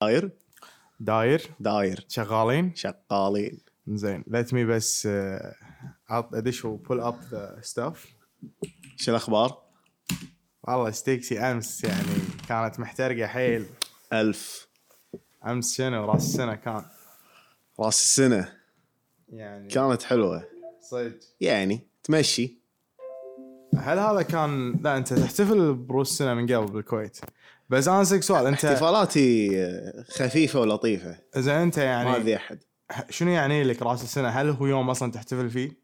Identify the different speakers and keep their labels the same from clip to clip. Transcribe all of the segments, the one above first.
Speaker 1: داير
Speaker 2: داير
Speaker 1: داير
Speaker 2: شغالين
Speaker 1: شقالين
Speaker 2: زين ليت مي بس آه، عط ادش وبول اب ذا ستاف
Speaker 1: شو الاخبار؟
Speaker 2: والله ستيكسي امس يعني كانت محترقه حيل
Speaker 1: الف
Speaker 2: امس شنو راس السنه كان
Speaker 1: راس السنه
Speaker 2: يعني
Speaker 1: كانت حلوه
Speaker 2: صدق
Speaker 1: يعني تمشي
Speaker 2: هل هذا كان لا انت تحتفل بروس السنه من قبل بالكويت بس انا اسالك سؤال انت
Speaker 1: احتفالاتي آه، خفيفه ولطيفه
Speaker 2: اذا انت
Speaker 1: ما
Speaker 2: يعني
Speaker 1: اذي احد
Speaker 2: شنو يعني لك راس السنه هل هو يوم اصلا تحتفل فيه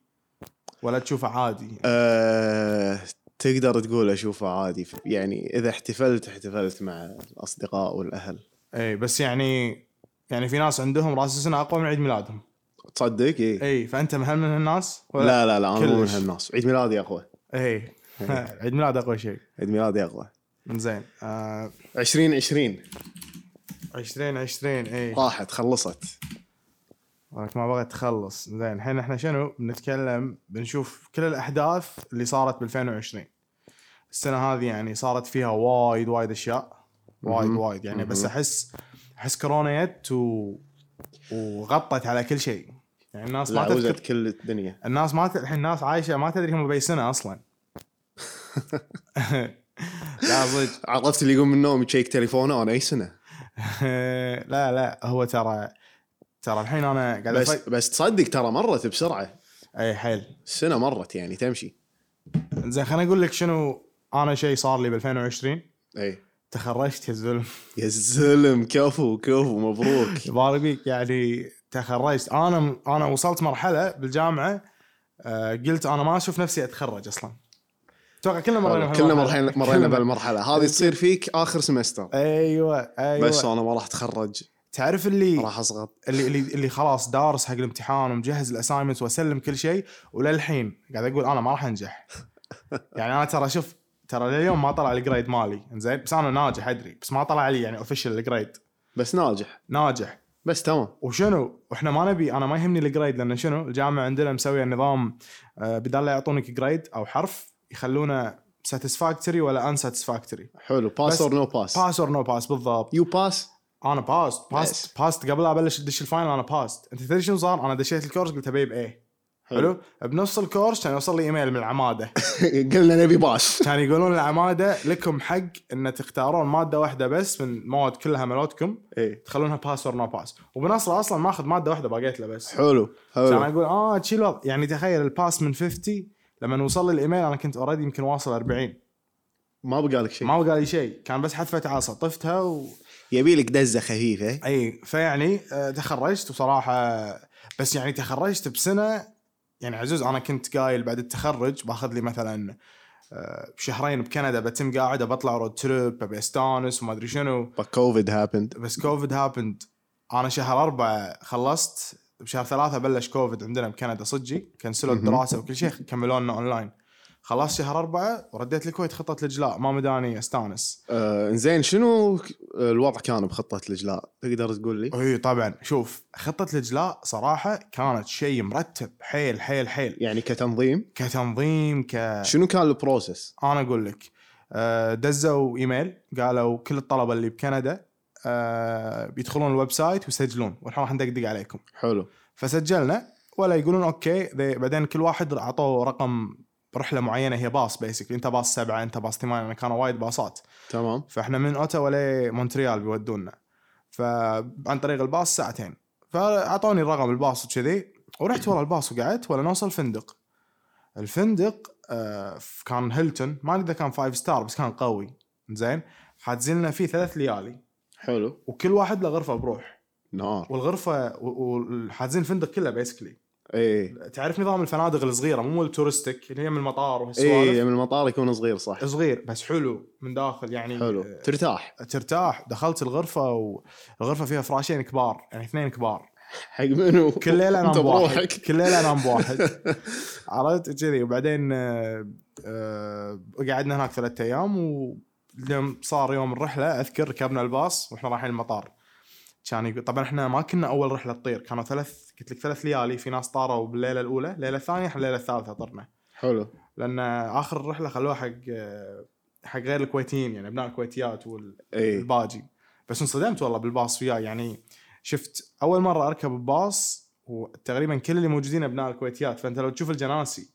Speaker 2: ولا تشوفه عادي
Speaker 1: أه تقدر تقول اشوفه عادي يعني اذا احتفلت احتفلت مع الاصدقاء والاهل
Speaker 2: اي بس يعني يعني في ناس عندهم راس السنه اقوى من عيد ميلادهم
Speaker 1: تصدق اي
Speaker 2: اي فانت مهل من هالناس
Speaker 1: لا لا لا انا مو من
Speaker 2: إيه. كلش.
Speaker 1: هالناس عيد ميلادي اقوى
Speaker 2: اي إيه.
Speaker 1: إيه.
Speaker 2: عيد ميلاد اقوى شيء
Speaker 1: عيد ميلادي اقوى
Speaker 2: زين آه
Speaker 1: 2020
Speaker 2: إيه. 20 20 اي
Speaker 1: راحت خلصت
Speaker 2: ولك ما بغيت تخلص زين الحين احنا شنو بنتكلم بنشوف كل الاحداث اللي صارت ب 2020 السنه هذه يعني صارت فيها وايد وايد اشياء وايد
Speaker 1: مهم.
Speaker 2: وايد يعني بس
Speaker 1: مهم.
Speaker 2: احس احس كورونا جت و... وغطت على كل شيء يعني الناس ما تذكر
Speaker 1: لعوزت كل الدنيا
Speaker 2: الناس ما ت- الحين الناس عايشه ما تدري هم باي سنه اصلا لا صدق
Speaker 1: عرفت اللي يقوم من النوم يشيك تليفونه انا اي سنه
Speaker 2: لا لا هو ترى ترى الحين انا قاعد
Speaker 1: بس
Speaker 2: بس...
Speaker 1: بس تصدق ترى مرت بسرعه
Speaker 2: اي حيل
Speaker 1: السنه مرت يعني تمشي
Speaker 2: زين خليني اقول لك شنو انا شيء صار لي ب 2020
Speaker 1: اي
Speaker 2: تخرجت يا زلم
Speaker 1: يا زلم كفو كفو مبروك
Speaker 2: يبارك بيك يعني تخرجت انا انا وصلت مرحله بالجامعه آه، قلت انا ما اشوف نفسي اتخرج اصلا اتوقع كلنا مرينا
Speaker 1: كلنا
Speaker 2: بهالمرحلة.
Speaker 1: مرينا مرينا
Speaker 2: كلنا.
Speaker 1: بالمرحله هذه تصير فيك اخر سمستر
Speaker 2: ايوه ايوه
Speaker 1: بس
Speaker 2: بس
Speaker 1: انا ما راح اتخرج
Speaker 2: تعرف اللي
Speaker 1: راح اصغر
Speaker 2: اللي اللي اللي خلاص دارس حق الامتحان ومجهز الاساينمنت واسلم كل شيء وللحين قاعد اقول انا ما راح انجح يعني انا ترى شوف ترى لليوم ما طلع الجريد مالي زين بس انا ناجح ادري بس ما طلع لي يعني اوفيشال الجريد
Speaker 1: بس ناجح
Speaker 2: ناجح
Speaker 1: بس تمام
Speaker 2: وشنو واحنا ما نبي انا ما يهمني الجريد لان شنو الجامعه عندنا مسويه نظام آه، بدال لا يعطونك جريد او حرف يخلونه ساتسفاكتوري ولا ان ساتسفاكتوري
Speaker 1: حلو باس
Speaker 2: بس-
Speaker 1: اور نو باس
Speaker 2: باس اور نو باس بالضبط
Speaker 1: يو باس
Speaker 2: انا باست
Speaker 1: Nice.
Speaker 2: باست باست قبل لا ابلش ادش الفاينل انا باست انت تدري شنو صار انا دشيت الكورس قلت ابي بايه حلو بنفس الكورس كان يوصل لي ايميل من العماده
Speaker 1: قلنا نبي باس
Speaker 2: كان يقولون العماده لكم حق ان تختارون ماده واحده بس من مواد كلها مالتكم
Speaker 1: اي
Speaker 2: تخلونها باس اور نو باس وبنصر اصلا ماخذ ماده واحده باقيت له بس
Speaker 1: حلو
Speaker 2: كان
Speaker 1: حلو
Speaker 2: اقول اه تشيل وضع يعني تخيل الباس من 50 لما وصل لي الايميل انا كنت اوريدي يمكن واصل 40
Speaker 1: ما بقى لك شيء
Speaker 2: ما بقى لي شيء كان بس حذفه عصا طفتها و...
Speaker 1: يبي لك دزه خفيفه
Speaker 2: اي فيعني آه، تخرجت وصراحه بس يعني تخرجت بسنه يعني عزوز انا كنت قايل بعد التخرج باخذ لي مثلا آه، شهرين بكندا بتم قاعده بطلع رود تريب ابي استانس وما ادري شنو
Speaker 1: but covid happened
Speaker 2: بس كوفيد هابند انا شهر أربعة خلصت بشهر ثلاثة بلش كوفيد عندنا بكندا صجي كنسلوا
Speaker 1: مهم.
Speaker 2: الدراسة وكل شيء كملوا لنا اونلاين خلاص شهر أربعة ورديت الكويت خطة الإجلاء ما مداني استانس
Speaker 1: آه، انزين شنو الوضع كان بخطه الاجلاء تقدر تقول لي
Speaker 2: اي طبعا إيه، شوف خطة الإجلاء صراحة كانت شيء مرتب حيل حيل حيل
Speaker 1: يعني كتنظيم
Speaker 2: كتنظيم ك
Speaker 1: شنو كان البروسس
Speaker 2: انا اقول لك آه، دزوا ايميل قالوا كل الطلبه اللي بكندا آه، بيدخلون الويب سايت ويسجلون واحنا راح ندقدق عليكم
Speaker 1: حلو
Speaker 2: فسجلنا ولا يقولون اوكي ذي بعدين كل واحد اعطوه رقم رحله معينه هي باص بيسكلي انت باص سبعه انت باص ثمانيه انا كانوا وايد باصات
Speaker 1: تمام
Speaker 2: فاحنا من اوتاوا لمونتريال بيودونا فعن طريق الباص ساعتين فاعطوني رقم الباص وكذي ورحت ورا الباص وقعدت ولا نوصل فندق الفندق آه، كان هيلتون ما أدري اذا كان فايف ستار بس كان قوي زين حاتزين لنا فيه ثلاث ليالي
Speaker 1: حلو
Speaker 2: وكل واحد له غرفه بروح
Speaker 1: نار
Speaker 2: والغرفه وحاتزين الفندق كله بيسكلي
Speaker 1: اي
Speaker 2: تعرف نظام الفنادق الصغيره مو التورستيك اللي هي من المطار
Speaker 1: اي
Speaker 2: وهالسوالف
Speaker 1: إيه، من المطار يكون صغير صح
Speaker 2: صغير بس حلو من داخل يعني
Speaker 1: حلو ترتاح
Speaker 2: آه، ترتاح دخلت الغرفه والغرفه فيها فراشين كبار يعني اثنين كبار
Speaker 1: حق منو
Speaker 2: كل ليله
Speaker 1: انت
Speaker 2: انام بواحد
Speaker 1: بروحك
Speaker 2: كل ليله انام بواحد عرفت كذي وبعدين آه، آه، قعدنا هناك ثلاثة ايام ولما صار يوم الرحله اذكر ركبنا الباص واحنا رايحين المطار كان يقول طبعا احنا ما كنا اول رحله تطير كانوا ثلاث قلت لك ثلاث ليالي في ناس طاروا بالليله الاولى الليله الثانيه احنا الليله الثالثه طرنا
Speaker 1: حلو
Speaker 2: لان اخر رحله خلوها حق آه، حق غير الكويتيين يعني ابناء الكويتيات وال
Speaker 1: اي
Speaker 2: الباجي بس انصدمت والله بالباص وياه يعني شفت اول مره اركب بباص وتقريبا كل اللي موجودين ابناء الكويتيات فانت لو تشوف الجناسي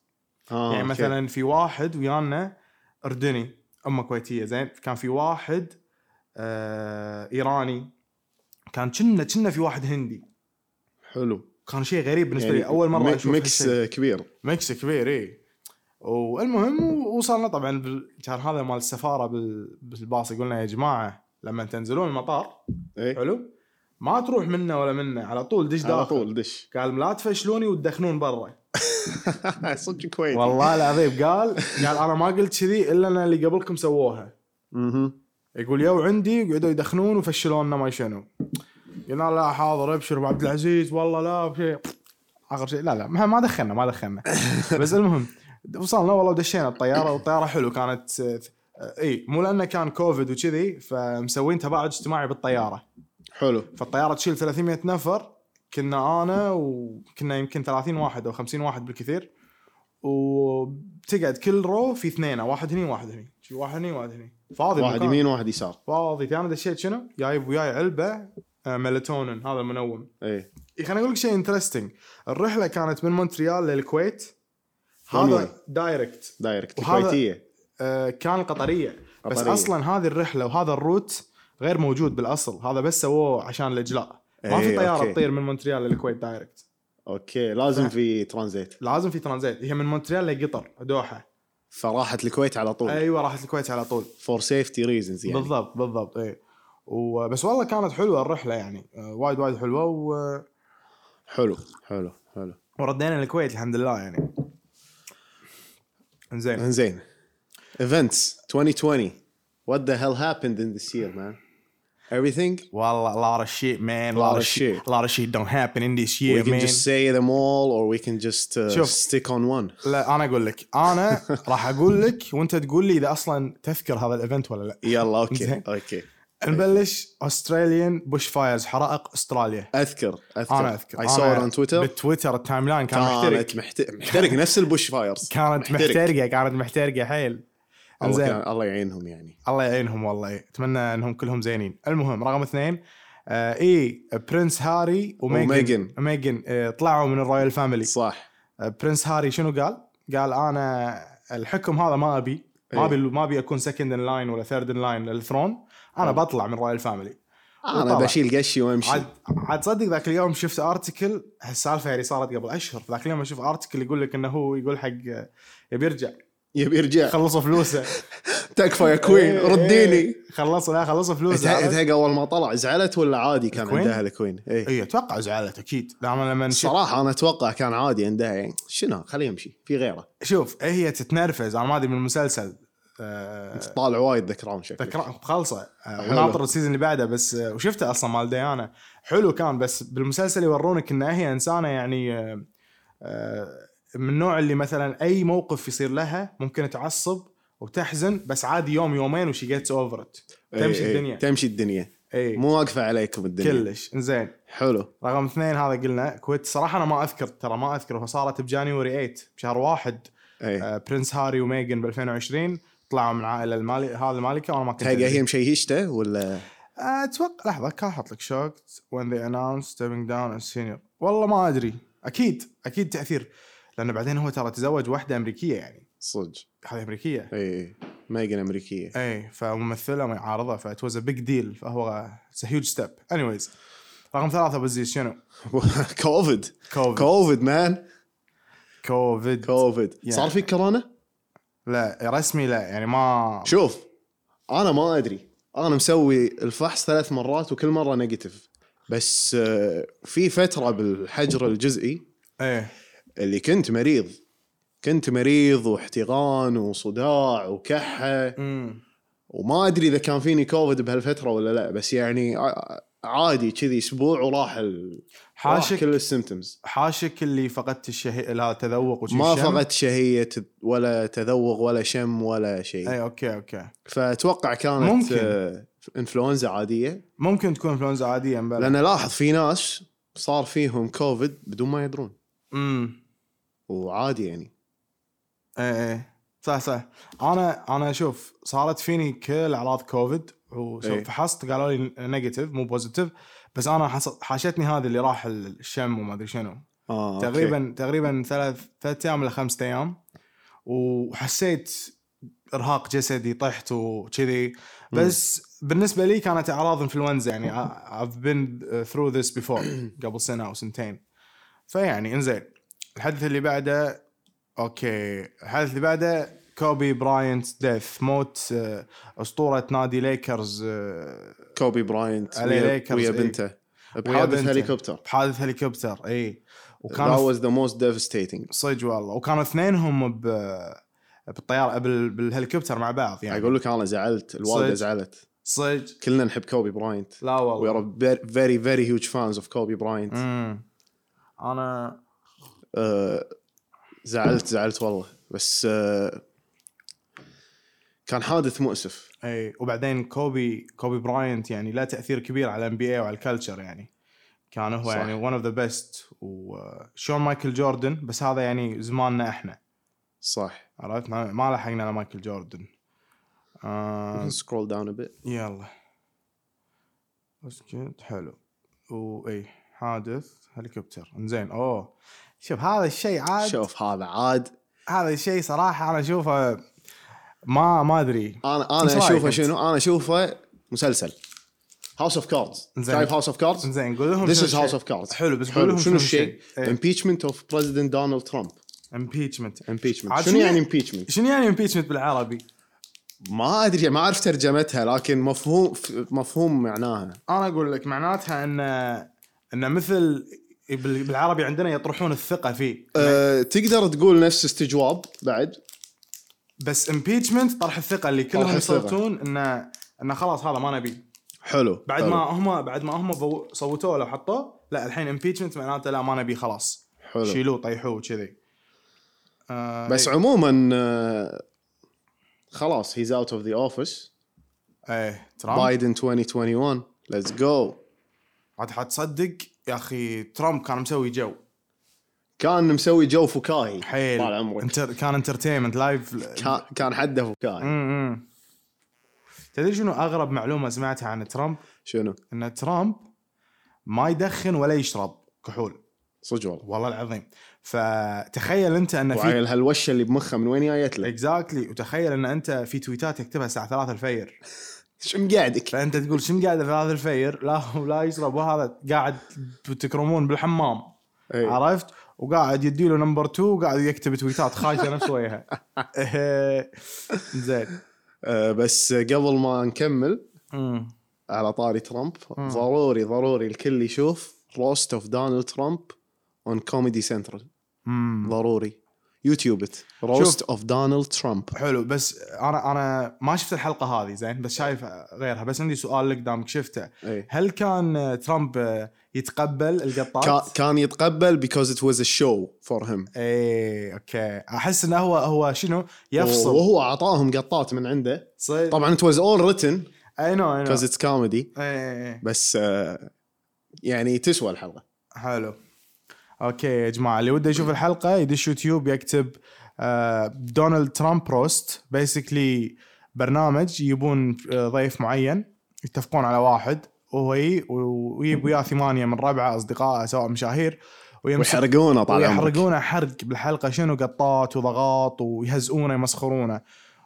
Speaker 1: آه
Speaker 2: يعني
Speaker 1: أوكي.
Speaker 2: مثلا في واحد ويانا اردني امه كويتيه زين كان في واحد آه ايراني كان كنا كنا في واحد هندي
Speaker 1: حلو
Speaker 2: كان شيء غريب بالنسبه
Speaker 1: يعني
Speaker 2: لي اول مره
Speaker 1: مي-
Speaker 2: اشوف
Speaker 1: ميكس
Speaker 2: هالشيء.
Speaker 1: آه، كبير
Speaker 2: ميكس كبير اي والمهم وصلنا طبعا بال- كان هذا مال السفاره بال- بالباص يقولنا يا جماعه لما تنزلون المطار
Speaker 1: اي
Speaker 2: حلو ما تروح منا ولا منا على طول دش
Speaker 1: إيه، على
Speaker 2: داخل
Speaker 1: طول دش
Speaker 2: قال لا تفشلوني وتدخنون برا
Speaker 1: صدق كويتي
Speaker 2: والله العظيم قال قال انا ما قلت كذي الا انا اللي قبلكم سووها
Speaker 1: مهم.
Speaker 2: يقول يو عندي وقعدوا يدخنون وفشلونا ما شنو قلنا لا حاضر ابشر ابو عبد العزيز والله لا شيء اخر شيء لا لا ما ما دخلنا ما دخلنا بس المهم وصلنا والله ودشينا الطياره والطياره حلو كانت آه، آه، اي مو لانه كان كوفيد وكذي فمسوين تباعد اجتماعي بالطياره
Speaker 1: حلو
Speaker 2: فالطياره تشيل 300 نفر كنا انا وكنا يمكن 30 واحد او 50 واحد بالكثير وبتقعد كل رو في اثنين واحد هني واحد هني شي واحد هني واحد هني فاضي
Speaker 1: واحد
Speaker 2: المكان.
Speaker 1: يمين وواحد يسار
Speaker 2: فاضي فانا دشيت شنو؟ جايب وياي علبه آه، ميلاتونين هذا المنوم
Speaker 1: اي
Speaker 2: إيه، خليني اقول لك شيء انترستنج الرحله كانت من مونتريال للكويت
Speaker 1: One
Speaker 2: هذا دايركت
Speaker 1: دايركت
Speaker 2: وهذا-
Speaker 1: كويتيه
Speaker 2: آه، كان قطريه بس
Speaker 1: قطرية.
Speaker 2: اصلا هذه الرحله وهذا الروت غير موجود بالاصل هذا بس سووه عشان الاجلاء ما
Speaker 1: إيه،
Speaker 2: في طياره
Speaker 1: أوكي.
Speaker 2: تطير من مونتريال للكويت دايركت
Speaker 1: اوكي لازم في ترانزيت
Speaker 2: لازم في ترانزيت هي من مونتريال لقطر دوحه
Speaker 1: فراحت الكويت على طول
Speaker 2: ايوه راحت الكويت على طول
Speaker 1: فور سيفتي ريزنز يعني
Speaker 2: بالضبط بالضبط اي وبس والله كانت حلوه الرحله يعني آه، وايد وايد حلوه و...
Speaker 1: حلو حلو حلو
Speaker 2: وردينا الكويت الحمد لله يعني زين
Speaker 1: انزين events 2020 what the hell happened in this year man everything
Speaker 2: والله a lot of shit man
Speaker 1: Lot of shit.
Speaker 2: a lot of shit don't happen in this
Speaker 1: we
Speaker 2: year
Speaker 1: can
Speaker 2: man
Speaker 1: just say them all or we can just uh,
Speaker 2: شوف.
Speaker 1: stick on one
Speaker 2: لا انا اقول لك انا راح اقول لك وانت تقول لي اذا اصلا تذكر هذا الايفنت ولا لا
Speaker 1: يلا اوكي
Speaker 2: زين.
Speaker 1: اوكي
Speaker 2: نبلش استراليان بوش فايرز حرائق استراليا
Speaker 1: اذكر اذكر
Speaker 2: انا اذكر
Speaker 1: I saw it
Speaker 2: أنا
Speaker 1: on Twitter
Speaker 2: بالتويتر التايم لاين كان محترق
Speaker 1: كانت محترق محترق نفس البوش فايرز
Speaker 2: كانت محترقه كانت محترقه حيل
Speaker 1: الله,
Speaker 2: إنزين.
Speaker 1: كان الله يعينهم يعني
Speaker 2: الله يعينهم والله اتمنى انهم كلهم زينين المهم رقم اثنين آه اي برنس هاري وميجن
Speaker 1: وميغن.
Speaker 2: ميجن آه طلعوا من الرويال فاميلي
Speaker 1: صح
Speaker 2: آه برنس هاري شنو قال؟ قال انا الحكم هذا ما ابي ما
Speaker 1: إيه.
Speaker 2: ابي ما ابي اكون سكند ان لاين ولا ثيرد ان لاين للثرون
Speaker 1: آه.
Speaker 2: انا بطلع من رويال فاميلي
Speaker 1: انا
Speaker 2: وطلع.
Speaker 1: بشيل قشي وامشي
Speaker 2: آه، عاد عاد تصدق ذاك اليوم شفت ارتكل هالسالفه يعني صارت قبل اشهر ذاك اليوم اشوف ارتكل يقول لك انه هو يقول حق آه، يبي يرجع
Speaker 1: يبي يرجع
Speaker 2: خلصوا فلوسه
Speaker 1: تكفى يا إيه. كوين
Speaker 2: إيه،
Speaker 1: رديني
Speaker 2: إيه. خلصوا لا خلصوا فلوسه
Speaker 1: اتهق اتهق اول ما طلع زعلت ولا عادي كان
Speaker 2: الكوين؟
Speaker 1: عندها الكوين إيه. اي
Speaker 2: اي اتوقع إيه، زعلت اكيد لا أنا لما شف-
Speaker 1: صراحة انا اتوقع كان عادي عندها يعني شنو خليه يمشي في غيره
Speaker 2: شوف هي تتنرفز انا ما ادري من المسلسل آه،
Speaker 1: طالع وايد ذا كراون شكله
Speaker 2: تكرا- خالصه آه،
Speaker 1: حلو.
Speaker 2: وناطر السيزون اللي بعده بس آه، وشفته اصلا مال ديانا حلو كان بس بالمسلسل يورونك ان هي انسانه يعني آه، آه، من النوع اللي مثلا اي موقف يصير لها ممكن تعصب وتحزن بس عادي يوم يومين وشي جيتس اوفر ات
Speaker 1: إي
Speaker 2: تمشي
Speaker 1: إي،
Speaker 2: الدنيا
Speaker 1: إيه، تمشي الدنيا
Speaker 2: اي
Speaker 1: مو واقفة عليكم الدنيا
Speaker 2: إيه، كلش زين
Speaker 1: حلو
Speaker 2: رقم اثنين هذا قلنا كويت صراحه انا ما اذكر ترى ما اذكر فصارت بجانيوري 8 بشهر واحد
Speaker 1: اي
Speaker 2: آه، برنس هاري وميغن ب 2020 طلعوا من عائله المالي هذا المالكه وانا ما كنت
Speaker 1: تهقى
Speaker 2: أدري.
Speaker 1: هي مشيشته ولا
Speaker 2: آه، اتوقع لحظه كان حاط لك شوكت when they announced stepping down as senior والله ما ادري اكيد اكيد تاثير لان بعدين هو ترى تزوج واحده امريكيه يعني
Speaker 1: صدق إيه،
Speaker 2: هذه إيه، امريكيه
Speaker 1: اي اي ميجن امريكية
Speaker 2: اي فممثله معارضه فات واز بيج ديل فهو اتس هيوج ستيب انيويز رقم ثلاثه ابو عزيز شنو؟
Speaker 1: كوفيد
Speaker 2: كوفيد
Speaker 1: كوفيد مان
Speaker 2: كوفيد
Speaker 1: كوفيد
Speaker 2: يعني.
Speaker 1: صار في كورونا
Speaker 2: لا رسمي لا يعني ما
Speaker 1: شوف انا ما ادري انا مسوي الفحص ثلاث مرات وكل مرة نيجاتيف بس آه، في فترة بالحجر الجزئي
Speaker 2: ايه
Speaker 1: اللي كنت مريض كنت مريض واحتضان وصداع وكحه
Speaker 2: امم
Speaker 1: وما ادري اذا كان فيني كوفيد بهالفتره ولا لا بس يعني ع- عادي كذي اسبوع وراح ال... راح
Speaker 2: حاشك
Speaker 1: كل السيمتومز
Speaker 2: حاشك اللي فقدت الشهي لا تذوق وشي
Speaker 1: ما
Speaker 2: شم؟
Speaker 1: فقدت شهيه ولا تذوق ولا شم ولا شيء
Speaker 2: اي اوكي اوكي
Speaker 1: فاتوقع كانت
Speaker 2: ممكن.
Speaker 1: آه، انفلونزا عاديه
Speaker 2: ممكن تكون انفلونزا عاديه مبلا
Speaker 1: لان لاحظ في ناس صار فيهم كوفيد بدون ما يدرون
Speaker 2: امم
Speaker 1: وعادي يعني
Speaker 2: إيه، اي اي صح صح انا انا اشوف صارت فيني كل اعراض كوفيد وسو-
Speaker 1: إيه.
Speaker 2: فحصت قالوا لي نيجاتيف مو بوزيتيف بس انا حص- حاشتني هذه اللي راح الشم وما ادري شنو
Speaker 1: آه أوكي.
Speaker 2: تقريبا تقريبا ثلاث ثلاث ايام الى خمسة ايام وحسيت ارهاق جسدي طحت وكذي بس بالنسبه لي كانت اعراض انفلونزا يعني I- I've been through this before قبل سنه او سنتين فيعني انزين الحدث اللي بعده اوكي الحدث اللي بعده كوبي براينت ديث موت آه، اسطوره نادي ليكرز آه،
Speaker 1: كوبي براينت
Speaker 2: عليه
Speaker 1: ويا,
Speaker 2: ليكرز،
Speaker 1: ويا
Speaker 2: إيه.
Speaker 1: بنته
Speaker 2: ويا
Speaker 1: بحادث
Speaker 2: بنته.
Speaker 1: هليكوبتر
Speaker 2: بحادث هليكوبتر إيه. اي
Speaker 1: That was the most devastating
Speaker 2: صدق والله وكانوا اثنينهم ب بالطياره بال... بالهليكوبتر مع بعض يعني
Speaker 1: اقول لك انا زعلت الوالده
Speaker 2: صدق.
Speaker 1: زعلت
Speaker 2: صدق
Speaker 1: كلنا نحب كوبي براينت
Speaker 2: لا
Speaker 1: We
Speaker 2: والله
Speaker 1: are very- very very huge fans of Kobe Bryant.
Speaker 2: امم انا
Speaker 1: آه، زعلت زعلت والله بس آه، كان حادث مؤسف
Speaker 2: اي وبعدين كوبي كوبي براينت يعني له تاثير كبير على الان بي اي وعلى الكالتشر يعني كان هو
Speaker 1: صح.
Speaker 2: يعني ون اوف ذا بيست وشون مايكل جوردن بس هذا يعني زماننا احنا
Speaker 1: صح
Speaker 2: عرفت ما, ما لحقنا على مايكل جوردن آه
Speaker 1: سكرول داون a bit
Speaker 2: يلا اسكت حلو واي حادث هليكوبتر انزين اوه شوف هذا الشيء عاد
Speaker 1: شوف هذا عاد
Speaker 2: هذا الشيء صراحه انا اشوفه ما ما ادري
Speaker 1: انا
Speaker 2: إيش
Speaker 1: انا
Speaker 2: رأيك
Speaker 1: اشوفه
Speaker 2: أنت؟
Speaker 1: شنو انا اشوفه مسلسل هاوس اوف كاردز
Speaker 2: زين.
Speaker 1: تعرف هاوس اوف كاردز
Speaker 2: انزين قول لهم
Speaker 1: This
Speaker 2: شنو
Speaker 1: is House
Speaker 2: الشيء.
Speaker 1: of Cards.
Speaker 2: حلو بس قول
Speaker 1: حلو
Speaker 2: لهم إيه.
Speaker 1: شنو الشيء؟
Speaker 2: الشيء
Speaker 1: impeachment of president Donald Trump
Speaker 2: امبيتشمنت
Speaker 1: impeachment شنو
Speaker 2: عاد شنو
Speaker 1: يعني
Speaker 2: يعني-
Speaker 1: impeachment؟
Speaker 2: شنو يعني امبيتشمنت بالعربي؟
Speaker 1: ما ادري ما اعرف ترجمتها لكن مفهوم مفهوم معناها
Speaker 2: انا اقول لك معناتها ان ان مثل بال- بالعربي عندنا يطرحون الثقه فيه
Speaker 1: أه تقدر تقول نفس استجواب بعد
Speaker 2: بس امبيتشمنت طرح الثقه اللي
Speaker 1: الثقة.
Speaker 2: كلهم يصوتون انه انه خلاص هذا ما نبي
Speaker 1: حلو
Speaker 2: بعد
Speaker 1: حلو.
Speaker 2: ما هم بعد ما هم فو- صوتوه لو حطوه لا الحين امبيتشمنت معناته لا ما نبي خلاص
Speaker 1: حلو
Speaker 2: شيلوه طيحوه كذي آه
Speaker 1: بس
Speaker 2: إيه.
Speaker 1: عموما آه، خلاص هيز اوت اوف ذا اوفيس
Speaker 2: ايه ترامب
Speaker 1: بايدن 2021 ليتس جو
Speaker 2: عاد حتصدق يا اخي ترامب كان مسوي جو
Speaker 1: كان مسوي جو فكاهي
Speaker 2: حيل
Speaker 1: طال عمرك
Speaker 2: انتر... كان انترتينمنت لايف
Speaker 1: كان- كان حده فكاهي
Speaker 2: امم تدري شنو اغرب معلومه سمعتها عن ترامب؟
Speaker 1: شنو
Speaker 2: ان ترامب ما يدخن ولا يشرب كحول
Speaker 1: صدق والله
Speaker 2: والله العظيم فتخيل انت ان في
Speaker 1: وعيل هالوشه اللي بمخه من وين جايت لك؟
Speaker 2: اكزاكتلي وتخيل ان انت في تويتات يكتبها الساعه 3 الفجر
Speaker 1: شو مقعدك؟
Speaker 2: فانت تقول شنو قاعد 3 الفجر لا هو لا يشرب وهذا قاعد بتكرمون بالحمام
Speaker 1: إيه.
Speaker 2: عرفت وقاعد يدي له نمبر 2 وقاعد يكتب تويتات خايسه نفس وجهها زين
Speaker 1: آه، بس قبل ما نكمل
Speaker 2: أمم.
Speaker 1: على طاري ترامب
Speaker 2: مم.
Speaker 1: ضروري ضروري الكل يشوف روست اوف دونالد ترامب اون كوميدي سنترال
Speaker 2: أمم.
Speaker 1: ضروري يوتيوب ات روست اوف دونالد ترامب
Speaker 2: حلو بس انا انا ما شفت الحلقه هذه زين بس شايف غيرها بس عندي سؤال لك دامك شفته
Speaker 1: اي
Speaker 2: هل كان آه، ترامب آه، يتقبل القطات؟
Speaker 1: كا- كان يتقبل because it was a show for him
Speaker 2: ايه اوكي احس انه هو هو شنو يفصل
Speaker 1: وهو اعطاهم قطات من عنده
Speaker 2: صدق
Speaker 1: طبعا it was all written
Speaker 2: اي نو اي نو
Speaker 1: because it's comedy
Speaker 2: ايه إيه.
Speaker 1: بس آه، يعني تسوى الحلقه
Speaker 2: حلو اوكي يا جماعه اللي وده يشوف الحلقه يدش يوتيوب يكتب آه، دونالد ترامب روست بيسكلي برنامج يجيبون آه، ضيف معين يتفقون على واحد وهو يجي ويجيب وياه ثمانيه من ربعه اصدقائه سواء مشاهير ويمسك
Speaker 1: ويحرقونه طال عمرك
Speaker 2: ويحرقونه حرق بالحلقه شنو قطات وضغط ويهزئونه يمسخرونه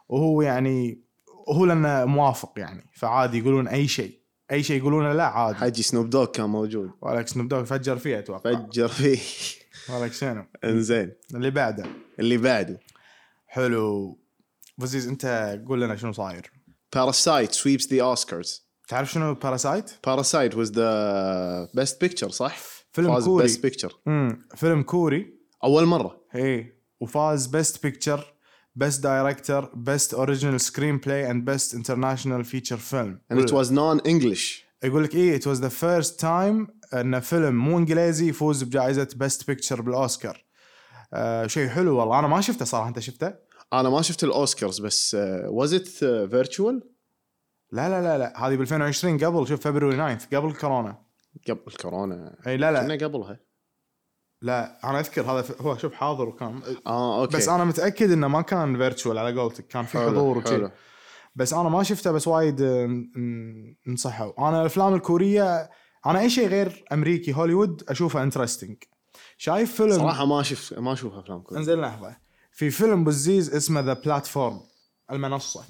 Speaker 2: وهو يعني هو لانه موافق يعني فعادي يقولون اي شيء اي شيء يقولونه لا عادي
Speaker 1: حجي سنوب دوغ كان موجود
Speaker 2: ولك سنوب دوغ فجر فيه اتوقع
Speaker 1: فجر فيه
Speaker 2: ولك شنو
Speaker 1: انزين
Speaker 2: اللي بعده
Speaker 1: اللي بعده
Speaker 2: حلو فزيز انت قول لنا شنو صاير
Speaker 1: Parasite sweeps the Oscars
Speaker 2: تعرف شنو باراسايت؟
Speaker 1: Parasite was the best picture صح؟
Speaker 2: فيلم
Speaker 1: فاز
Speaker 2: كوري.
Speaker 1: best picture
Speaker 2: امم فيلم كوري
Speaker 1: اول مره
Speaker 2: اي وفاز بيست بيكتشر بيست دايركتور بيست اوريجينال سكرين بلاي اند بيست انترناشونال فيتشر فيلم
Speaker 1: and it was non English
Speaker 2: يقول لك ايه ات واز ذا فيرست تايم ان فيلم مو انجليزي يفوز بجائزه بيست بيكتشر بالاوسكار آه شيء حلو والله انا ما شفته صراحه انت شفته؟
Speaker 1: انا ما شفت الاوسكارز بس آه، was it آه، virtual
Speaker 2: لا لا لا لا هذه ب 2020 قبل شوف فبراير 9 قبل كورونا
Speaker 1: قبل كورونا
Speaker 2: اي لا لا
Speaker 1: كنا قبلها
Speaker 2: لا انا اذكر هذا ف- هو شوف حاضر وكان
Speaker 1: اه اوكي
Speaker 2: بس انا متاكد انه ما كان فيرتشوال على قولتك كان في
Speaker 1: حلو،
Speaker 2: حضور وشي
Speaker 1: حلو.
Speaker 2: بس انا ما شفته بس وايد آه، ن- نصحوا انا الافلام الكوريه انا اي شيء غير امريكي هوليوود اشوفه انترستنج شايف فيلم
Speaker 1: صراحه ما شفت ما اشوف افلام كوريه
Speaker 2: انزين لحظه في فيلم بوزيز اسمه ذا بلاتفورم المنصه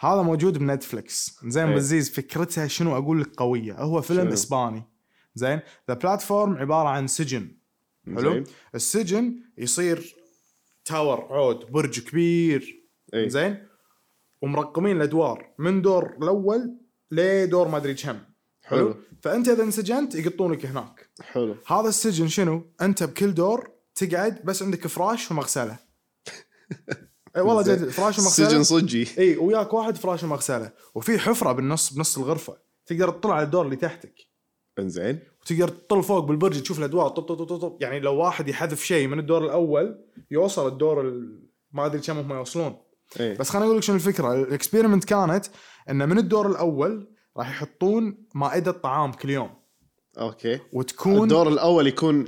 Speaker 2: هذا موجود بنتفلكس زين
Speaker 1: إيه.
Speaker 2: بوزيز فكرتها شنو اقول لك قويه هو فيلم
Speaker 1: شنو؟
Speaker 2: اسباني زين ذا بلاتفورم عباره عن سجن حلو
Speaker 1: زين.
Speaker 2: السجن يصير تاور عود برج كبير
Speaker 1: إيه.
Speaker 2: زين ومرقمين الادوار من دور الاول لدور ما ادري كم حلو.
Speaker 1: حلو.
Speaker 2: فانت اذا انسجنت يقطونك هناك
Speaker 1: حلو
Speaker 2: هذا السجن شنو؟ انت بكل دور تقعد بس عندك فراش ومغسله. اي والله
Speaker 1: زين.
Speaker 2: جد فراش
Speaker 1: سجن
Speaker 2: ومغسله
Speaker 1: صجي
Speaker 2: اي وياك واحد فراش ومغسله وفي حفره بالنص بنص الغرفه تقدر تطلع على الدور اللي تحتك
Speaker 1: انزين
Speaker 2: وتقدر تطل فوق بالبرج تشوف الادوار طب طب طب طب- طب يعني لو واحد يحذف شيء من الدور الاول يوصل الدور ال... ما ادري كم هم يوصلون
Speaker 1: ايه
Speaker 2: بس خليني اقول لك شنو الفكره الاكسبيرمنت كانت انه من الدور الاول راح يحطون مائده طعام كل يوم
Speaker 1: اوكي
Speaker 2: وتكون
Speaker 1: الدور الاول يكون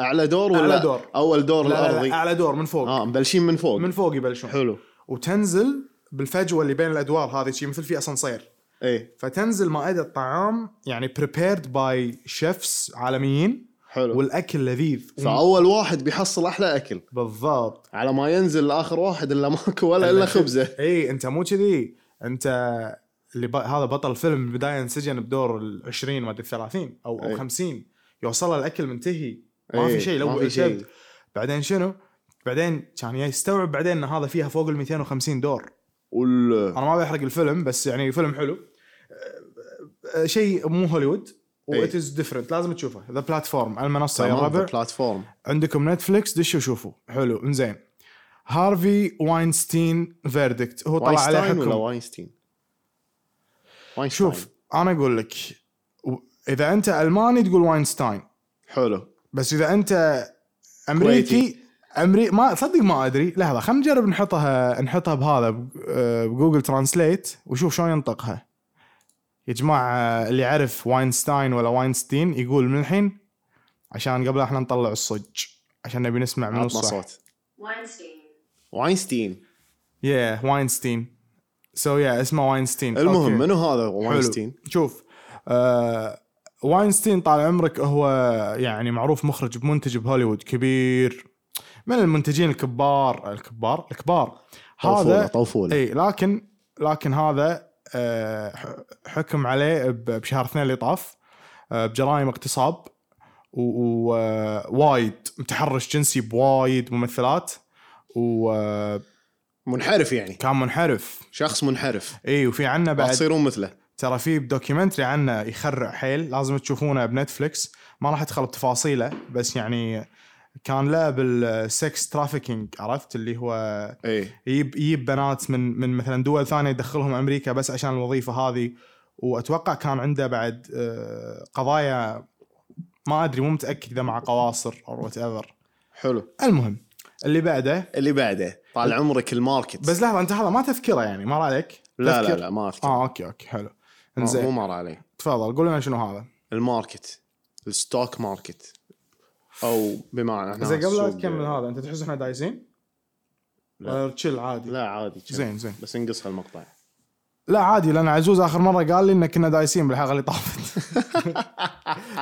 Speaker 1: اعلى دور ولا
Speaker 2: أعلى دور.
Speaker 1: اول دور
Speaker 2: لا لا
Speaker 1: الارضي
Speaker 2: لا اعلى دور من فوق
Speaker 1: اه مبلشين من فوق
Speaker 2: من فوق يبلشون
Speaker 1: حلو
Speaker 2: وتنزل بالفجوه اللي بين الادوار هذه شيء مثل في اسانسير
Speaker 1: ايه
Speaker 2: فتنزل مائده طعام يعني بريبيرد باي شيفس عالميين
Speaker 1: حلو
Speaker 2: والاكل لذيذ
Speaker 1: فاول واحد بيحصل احلى اكل
Speaker 2: بالضبط
Speaker 1: على ما ينزل لاخر واحد الا ماكو ولا الا خبزه
Speaker 2: اي انت مو كذي انت اللي ب... هذا بطل فيلم بالبدايه انسجن بدور ال 20 ما ادري 30 او او
Speaker 1: إي.
Speaker 2: 50 يوصل الاكل منتهي ما
Speaker 1: إي،
Speaker 2: في شيء
Speaker 1: إيه، ما
Speaker 2: لو
Speaker 1: في شيء.
Speaker 2: شيء بعدين شنو؟ بعدين كان يستوعب بعدين ان هذا فيها فوق ال 250 دور
Speaker 1: وال
Speaker 2: انا ما بحرق الفيلم بس يعني فيلم حلو أه، أه، شيء مو هوليوود
Speaker 1: إي.
Speaker 2: وات از ديفرنت لازم تشوفه ذا بلاتفورم المنصه يا
Speaker 1: إيه. تمام،
Speaker 2: ربع
Speaker 1: بلاتفورم
Speaker 2: عندكم نتفليكس دشوا شوفوا حلو انزين هارفي واينستين فيردكت هو طلع عليه
Speaker 1: واينستاين ولا
Speaker 2: حكم
Speaker 1: واينستين؟ واينستاين
Speaker 2: شوف انا اقول لك و- اذا انت الماني تقول واينستاين
Speaker 1: حلو
Speaker 2: بس اذا انت امريكي
Speaker 1: كويتي.
Speaker 2: امري ما صدق ما ادري لحظه خلينا نجرب نحطها نحطها بهذا ب- آه، بجوجل ترانسليت وشوف شلون ينطقها يا جماعه آه، اللي يعرف واينستاين ولا واينستين يقول من الحين عشان قبل احنا نطلع الصج عشان نبي نسمع من
Speaker 1: عطنا
Speaker 2: الصوت
Speaker 1: صوت
Speaker 3: Weinstein.
Speaker 1: واينستين
Speaker 2: يا واينستين سو يا اسمه واينستين
Speaker 1: المهم
Speaker 2: أوكي.
Speaker 1: منو هذا
Speaker 2: حلو.
Speaker 1: واينستين؟
Speaker 2: شوف آه واينستين طال عمرك هو يعني معروف مخرج بمنتج بهوليوود كبير من المنتجين الكبار الكبار الكبار
Speaker 1: طوفوله
Speaker 2: هذا إيه.
Speaker 1: طوفوله
Speaker 2: اي لكن لكن هذا آه، ح- حكم عليه ب- بشهر اثنين اللي طاف آه، بجرائم اغتصاب ووايد آه، متحرش جنسي بوايد ممثلات وكان
Speaker 1: منحرف يعني
Speaker 2: منحرف
Speaker 1: شخص منحرف
Speaker 2: اي وفي عنا
Speaker 1: لا
Speaker 2: بعد
Speaker 1: تصيرون مثله
Speaker 2: ترى في بدوكيومنتري عنه يخرع حيل لازم تشوفونه بنتفلكس ما راح ادخل بتفاصيله بس يعني كان له بالسكس ترافيكينج عرفت اللي هو
Speaker 1: اي
Speaker 2: يجيب يجيب بنات من من مثلا دول ثانيه يدخلهم امريكا بس عشان الوظيفه هذه واتوقع كان عنده بعد آه، قضايا ما ادري مو متاكد اذا مع قواصر او وات ايفر
Speaker 1: حلو
Speaker 2: المهم اللي بعده
Speaker 1: اللي بعده طال عمرك الماركت
Speaker 2: بس لحظه انت هذا ما تذكره يعني مر عليك
Speaker 1: لا
Speaker 2: تذكر؟
Speaker 1: لا لا ما اذكر
Speaker 2: اه اوكي اوكي حلو
Speaker 1: ما- مو
Speaker 2: انزين
Speaker 1: مر علي
Speaker 2: تفضل قول لنا شنو هذا
Speaker 1: الماركت الستوك ماركت او بمعنى إحنا
Speaker 2: زين قبل لا
Speaker 1: السوق-
Speaker 2: تكمل هذا انت تحس احنا دايسين؟
Speaker 1: لا.
Speaker 2: ولا تشيل عادي
Speaker 1: لا عادي كان.
Speaker 2: زين زين
Speaker 1: بس انقص هالمقطع
Speaker 2: لا عادي لان عزوز اخر مره قال لي ان كنا دايسين بالحلقه اللي طافت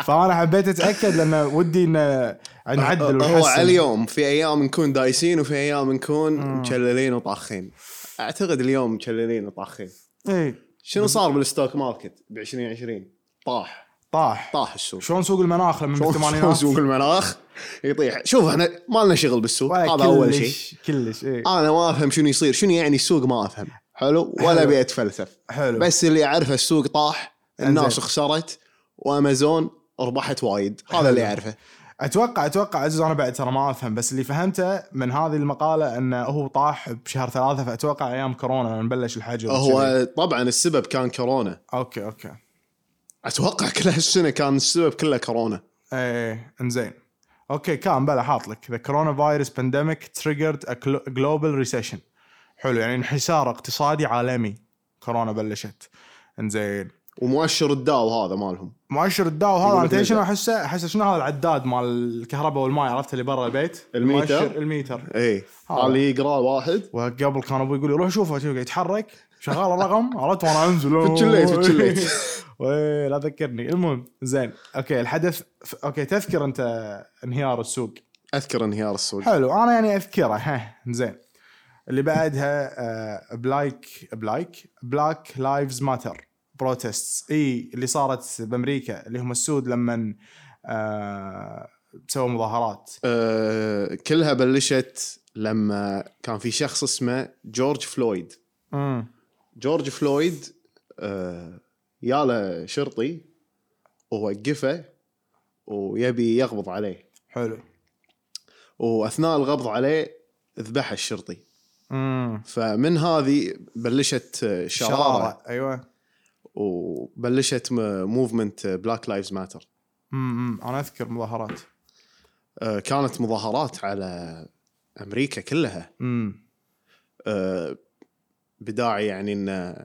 Speaker 2: فانا حبيت اتاكد لان ودي ان نعدل
Speaker 1: هو
Speaker 2: ونحسن.
Speaker 1: على اليوم في ايام نكون دايسين وفي ايام نكون مشللين وطاخين اعتقد اليوم مشللين وطاخين
Speaker 2: اي
Speaker 1: شنو صار بالستوك ماركت ب 2020 طاح
Speaker 2: طاح
Speaker 1: طاح السوق
Speaker 2: شلون سوق المناخ لما بالثمانينات
Speaker 1: سوق المناخ يطيح شوف احنا ما لنا شغل بالسوق
Speaker 2: ولا
Speaker 1: هذا اول شيء
Speaker 2: كلش- كلش إيه. اي
Speaker 1: انا ما افهم شنو يصير شنو يعني السوق ما افهم حلو ولا
Speaker 2: حلو.
Speaker 1: ابي اتفلسف
Speaker 2: حلو آه، بس
Speaker 1: بس اللي اعرفه السوق طاح الناس
Speaker 2: إنزين.
Speaker 1: خسرت وامازون ربحت وايد
Speaker 2: حلو.
Speaker 1: هذا اللي اعرفه
Speaker 2: اتوقع اتوقع عزوز انا بعد ترى ما افهم بس اللي فهمته من هذه المقاله انه هو طاح بشهر ثلاثه فاتوقع ايام كورونا لما بلش الحجر وشذي.
Speaker 1: هو طبعا السبب كان كورونا
Speaker 2: اوكي اوكي
Speaker 1: اتوقع كل هالسنه كان السبب كله كورونا
Speaker 2: ايه انزين اوكي كان بلا حاط لك ذا كورونا فايروس بانديميك تريجرد جلوبال ريسيشن حلو يعني انحسار اقتصادي عالمي كورونا بلشت انزين
Speaker 1: ومؤشر الداو هذا مالهم
Speaker 2: مؤشر الداو هذا
Speaker 1: يقول
Speaker 2: انا
Speaker 1: لك
Speaker 2: تدري
Speaker 1: نزل.
Speaker 2: شنو احسه احسه شنو هذا العداد مال الكهرباء والماي عرفت اللي برا البيت
Speaker 1: الميتر؟
Speaker 2: مؤشر الميتر
Speaker 1: اي
Speaker 2: هذا.
Speaker 1: إيه. اللي يقرا واحد
Speaker 2: وقبل كان ابوي يقول لي روح شوفه شوف قاعد يتحرك شغال الرقم عرفت وانا انزل
Speaker 1: فتشليت- فتشليت.
Speaker 2: وي، لا تذكرني المهم زين اوكي الحدث ف- اوكي تذكر انت انهيار السوق
Speaker 1: اذكر انهيار السوق
Speaker 2: حلو انا يعني اذكره ها زين اللي بعدها آه، بلايك بلايك بلاك لايفز ماتر بروتستس اي اللي صارت بامريكا اللي هم السود لما آه سووا مظاهرات
Speaker 1: آه، كلها بلشت لما كان في شخص اسمه جورج فلويد
Speaker 2: امم
Speaker 1: جورج فلويد آه، ياله شرطي ووقفه ويبي يقبض عليه
Speaker 2: حلو
Speaker 1: واثناء القبض عليه ذبح الشرطي
Speaker 2: امم
Speaker 1: فمن هذه بلشت آه، شراره
Speaker 2: ايوه
Speaker 1: وبلشت موفمنت بلاك لايفز ماتر
Speaker 2: امم انا اذكر مظاهرات
Speaker 1: أه، كانت مظاهرات على امريكا كلها
Speaker 2: امم
Speaker 1: آه، بداعي يعني ان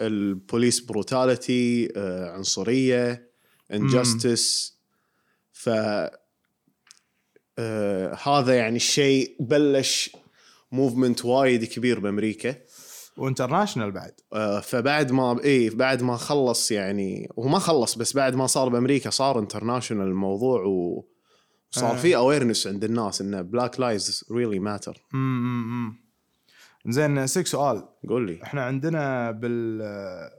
Speaker 1: البوليس بروتاليتي عنصريه انجستس ف آه، هذا يعني الشيء بلش موفمنت وايد كبير بامريكا
Speaker 2: وانترناشنال بعد
Speaker 1: آه، فبعد ما اي بعد ما خلص يعني هو ما خلص بس بعد ما صار بامريكا صار انترناشونال الموضوع و- وصار
Speaker 2: آه.
Speaker 1: في اويرنس عند الناس ان بلاك لايز ريلي ماتر
Speaker 2: امم امم زين سيك سؤال
Speaker 1: قول لي
Speaker 2: احنا عندنا بال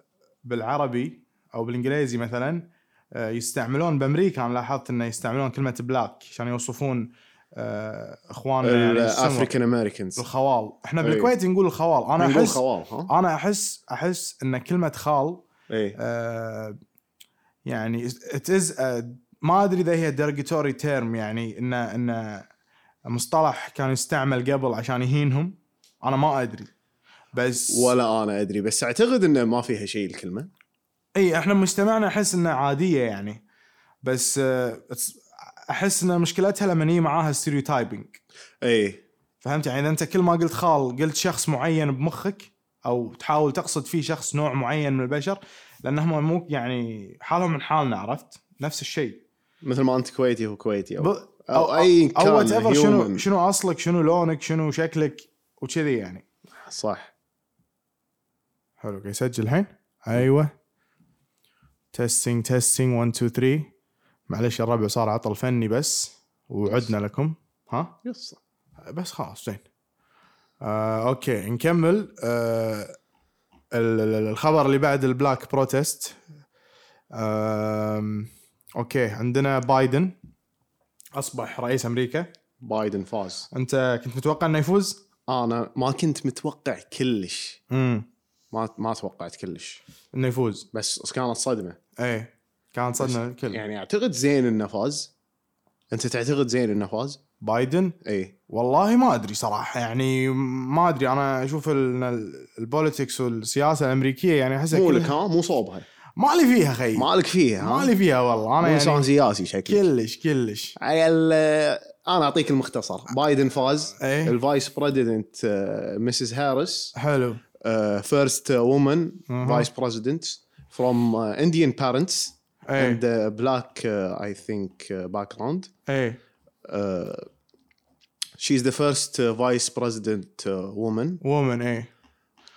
Speaker 2: بالعربي او بالانجليزي مثلا آه، يستعملون بامريكا انا لاحظت انه يستعملون كلمه بلاك عشان يوصفون آه، اخواننا يعني السمر،
Speaker 1: الافريكان امريكانز
Speaker 2: الخوال احنا
Speaker 1: إي.
Speaker 2: بالكويت نقول الخوال انا
Speaker 1: إيه. نقول
Speaker 2: احس
Speaker 1: خوال ها
Speaker 2: انا احس احس ان كلمه خال
Speaker 1: اي
Speaker 2: آه، يعني it is a- ما ادري اذا هي derogatory term يعني انه انه مصطلح كان يستعمل قبل عشان يهينهم انا ما ادري بس
Speaker 1: ولا انا ادري بس اعتقد انه ما فيها شيء الكلمه
Speaker 2: اي احنا إيه، مجتمعنا احس انه عاديه يعني بس آه، it's- احس ان مشكلتها لما هي معاها ستيريوتايبنج
Speaker 1: اي
Speaker 2: فهمت يعني اذا انت كل ما قلت خال قلت شخص معين بمخك او تحاول تقصد فيه شخص نوع معين من البشر لانهم مو يعني حالهم من حالنا عرفت نفس الشيء
Speaker 1: مثل ما انت كويتي هو كويتي او,
Speaker 2: ب...
Speaker 1: أو, اي كان
Speaker 2: او whatever شنو
Speaker 1: human.
Speaker 2: شنو اصلك شنو لونك شنو شكلك وكذي يعني
Speaker 1: صح
Speaker 2: حلو قاعد يسجل الحين ايوه تستنج تستنج 1 2 3 معلش الربع صار عطل فني بس وعدنا لكم ها
Speaker 1: يس
Speaker 2: بس خلاص زين آه، اوكي نكمل آه، ال- ال- الخبر اللي بعد البلاك بروتست آم، اوكي عندنا بايدن اصبح رئيس امريكا
Speaker 1: بايدن فاز
Speaker 2: انت كنت متوقع انه يفوز؟
Speaker 1: انا ما كنت متوقع كلش
Speaker 2: امم
Speaker 1: ما ما توقعت كلش
Speaker 2: انه يفوز
Speaker 1: بس كانت صدمه
Speaker 2: ايه كان صدمه الكل
Speaker 1: يعني اعتقد زين انه فاز انت تعتقد زين انه فاز؟
Speaker 2: بايدن
Speaker 1: اي
Speaker 2: والله ما ادري صراحه يعني ما ادري انا اشوف ال- ال- البوليتكس والسياسه الامريكيه يعني احسها
Speaker 1: مو
Speaker 2: كلها-
Speaker 1: لك ها مو صوبها
Speaker 2: مالي فيها خي
Speaker 1: مالك فيها ها؟
Speaker 2: مالي فيها والله
Speaker 1: مو
Speaker 2: انا يعني
Speaker 1: انسان سياسي شكلي
Speaker 2: كلش كلش
Speaker 1: عيل آه، انا اعطيك المختصر بايدن فاز
Speaker 2: ايه
Speaker 1: الفايس بريزيدنت مسز هاريس آه،
Speaker 2: حلو
Speaker 1: فيرست وومن
Speaker 2: مهم.
Speaker 1: فايس بريزيدنت فروم انديان بارنتس
Speaker 2: ايه
Speaker 1: اند بلاك اي ثينك باك جراوند
Speaker 2: ايه
Speaker 1: شي از ذا فيرست فايس بريزيدنت وومن
Speaker 2: وومن ايه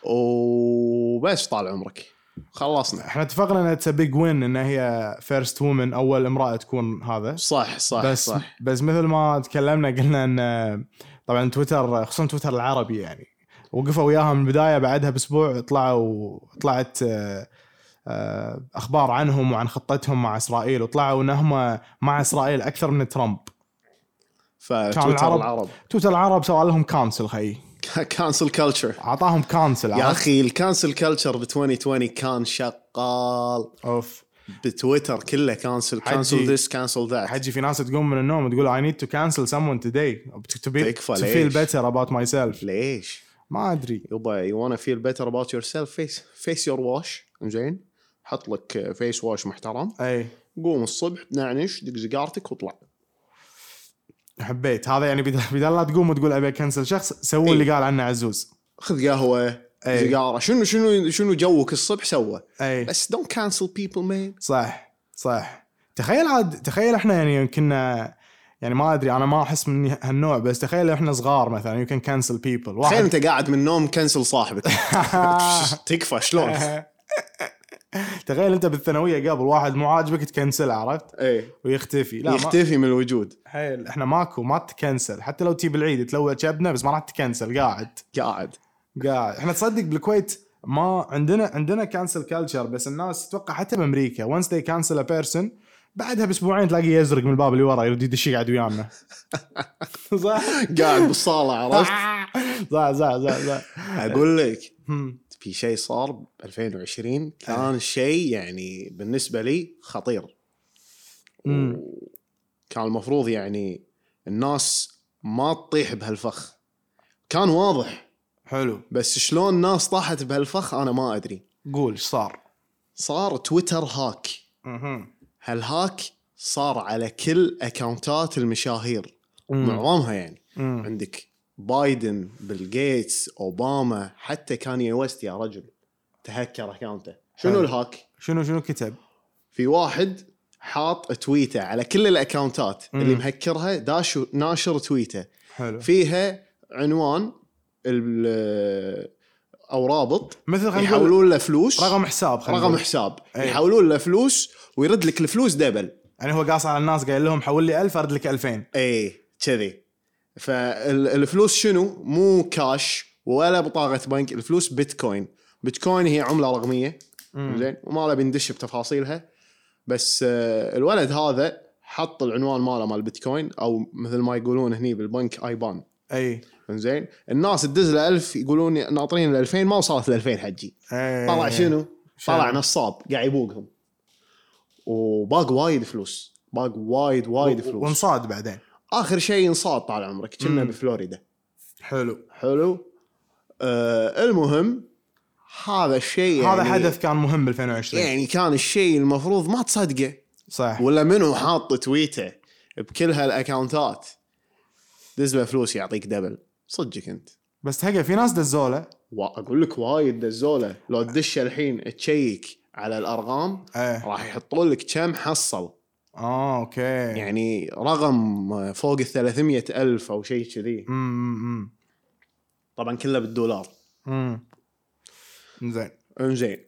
Speaker 1: وبس طال عمرك خلصنا
Speaker 2: احنا اتفقنا انها تس بيج وين ان هي فيرست وومن اول امراه تكون هذا
Speaker 1: صح صح
Speaker 2: بس
Speaker 1: صح
Speaker 2: بس مثل ما تكلمنا قلنا ان طبعا تويتر خصوصا تويتر العربي يعني وقفوا وياها من البدايه بعدها باسبوع طلعوا طلعت آه، آه، اخبار عنهم وعن خطتهم مع اسرائيل وطلعوا انهم مع اسرائيل اكثر من ترامب
Speaker 1: فتويتر
Speaker 2: العرب-
Speaker 1: العرب
Speaker 2: تويتر العرب سوى لهم كانسل خي
Speaker 1: كانسل كلتشر
Speaker 2: اعطاهم كانسل
Speaker 1: يا
Speaker 2: عرفت؟
Speaker 1: اخي الكانسل كلتشر ب 2020 كان شغال
Speaker 2: اوف
Speaker 1: بتويتر كله كانسل
Speaker 2: حجي.
Speaker 1: كانسل ذس كانسل ذات
Speaker 2: حجي في ناس تقوم من النوم تقول I need to cancel someone today بتكتبي to
Speaker 1: تكفى ليش؟
Speaker 2: feel better about myself
Speaker 1: ليش؟
Speaker 2: ما ادري
Speaker 1: يبا يو وانا فيل بيتر اباوت يور سيلف فيس فيس يور واش زين حط لك فيس واش محترم
Speaker 2: اي
Speaker 1: قوم الصبح تنعنش دق سيجارتك واطلع
Speaker 2: حبيت هذا يعني بدل بدل لا تقوم وتقول ابي اكنسل شخص سووا
Speaker 1: إيه.
Speaker 2: اللي قال عنه عزوز
Speaker 1: خذ قهوه
Speaker 2: إيه.
Speaker 1: سيجاره شنو شنو شنو جوك الصبح سوى
Speaker 2: اي
Speaker 1: بس دونت كانسل بيبل مان
Speaker 2: صح صح تخيل عاد تخيل احنا يعني كنا يعني ما ادري انا ما احس من هالنوع بس تخيل احنا صغار مثلا يو كان كانسل بيبل
Speaker 1: تخيل انت قاعد من النوم كنسل صاحبك تكفى شلون
Speaker 2: تخيل انت بالثانويه قبل واحد مو عاجبك تكنسله عرفت
Speaker 1: اي
Speaker 2: ويختفي لا ما
Speaker 1: إيه، يختفي من الوجود
Speaker 2: حيل احنا ماكو ما تكنسل حتى لو تجيب العيد تلوى شبنه بس ما راح تكنسل قاعد
Speaker 1: قاعد
Speaker 2: قاعد احنا تصدق بالكويت ما عندنا عندنا كانسل كلتشر بس الناس تتوقع حتى بامريكا وانس ذي كانسل ا بيرسون بعدها باسبوعين تلاقيه يزرق من الباب اللي ورا يريد يدش يقعد ويانا صح
Speaker 1: قاعد بالصاله عرفت
Speaker 2: صح صح صح صح
Speaker 1: اقول لك
Speaker 2: هم. إيه.
Speaker 1: في شيء صار ب 2020 كان شيء يعني بالنسبه لي خطير
Speaker 2: مم.
Speaker 1: كان المفروض يعني الناس ما تطيح بهالفخ كان واضح
Speaker 2: حلو
Speaker 1: بس شلون ناس طاحت بهالفخ انا ما ادري
Speaker 2: قول ايش صار
Speaker 1: صار تويتر هاك
Speaker 2: مهم.
Speaker 1: هالهاك صار على كل اكونتات المشاهير
Speaker 2: مم.
Speaker 1: معظمها يعني
Speaker 2: مم.
Speaker 1: عندك بايدن بيل جيتس اوباما حتى كاني ويست يا رجل تهكر اكونته شنو
Speaker 2: حلو.
Speaker 1: الهاك
Speaker 2: شنو شنو كتب؟
Speaker 1: في واحد حاط تويته على كل الاكونتات
Speaker 2: مم.
Speaker 1: اللي مهكرها داش ناشر تويته
Speaker 2: حلو
Speaker 1: فيها عنوان ال- او رابط
Speaker 2: مثل خلينا نقول
Speaker 1: يحولون له فلوس
Speaker 2: رقم حساب إيه. خلينا
Speaker 1: رقم
Speaker 2: نقول.
Speaker 1: حساب
Speaker 2: أي.
Speaker 1: يحولون له فلوس ويرد لك الفلوس دبل
Speaker 2: يعني هو قاص على الناس قايل لهم حول لي 1000 ارد لك 2000
Speaker 1: اي إيه، كذي فالفلوس شنو؟ مو كاش ولا بطاقه بنك، الفلوس بيتكوين، بيتكوين هي عمله رقميه زين وما له بندش بتفاصيلها بس آه، الولد هذا حط العنوان ماله مال بيتكوين او مثل ما يقولون هني بالبنك ايبان
Speaker 2: اي
Speaker 1: زين الناس تدز له 1000 يقولون ناطرين ال 2000 ما وصلت ال 2000 حجي
Speaker 2: أي.
Speaker 1: طلع شنو؟
Speaker 2: إيه، شنو؟
Speaker 1: طلع نصاب قاعد يبوقهم وباق وايد فلوس باق وايد وايد فلوس
Speaker 2: وانصاد بعدين
Speaker 1: اخر شيء انصاد طال عمرك كنا
Speaker 2: مم.
Speaker 1: بفلوريدا
Speaker 2: حلو
Speaker 1: حلو آه المهم هذا الشيء يعني
Speaker 2: هذا حدث كان مهم ب 2020
Speaker 1: يعني كان الشيء المفروض ما تصدقه
Speaker 2: صح
Speaker 1: ولا منو حاط تويته بكل هالاكونتات دز له فلوس يعطيك دبل صدقك انت
Speaker 2: بس تهقى في ناس دزوله
Speaker 1: واقول لك وايد دزوله لو تدش الحين تشيك على الارقام
Speaker 2: ايه
Speaker 1: راح يحطون لك كم حصل
Speaker 2: اه اوكي يعني
Speaker 1: يعني رقم فوق ال 300 ألف أو شيء كذي
Speaker 2: امم
Speaker 1: طبعا كله بالدولار
Speaker 2: امم زين
Speaker 1: انزين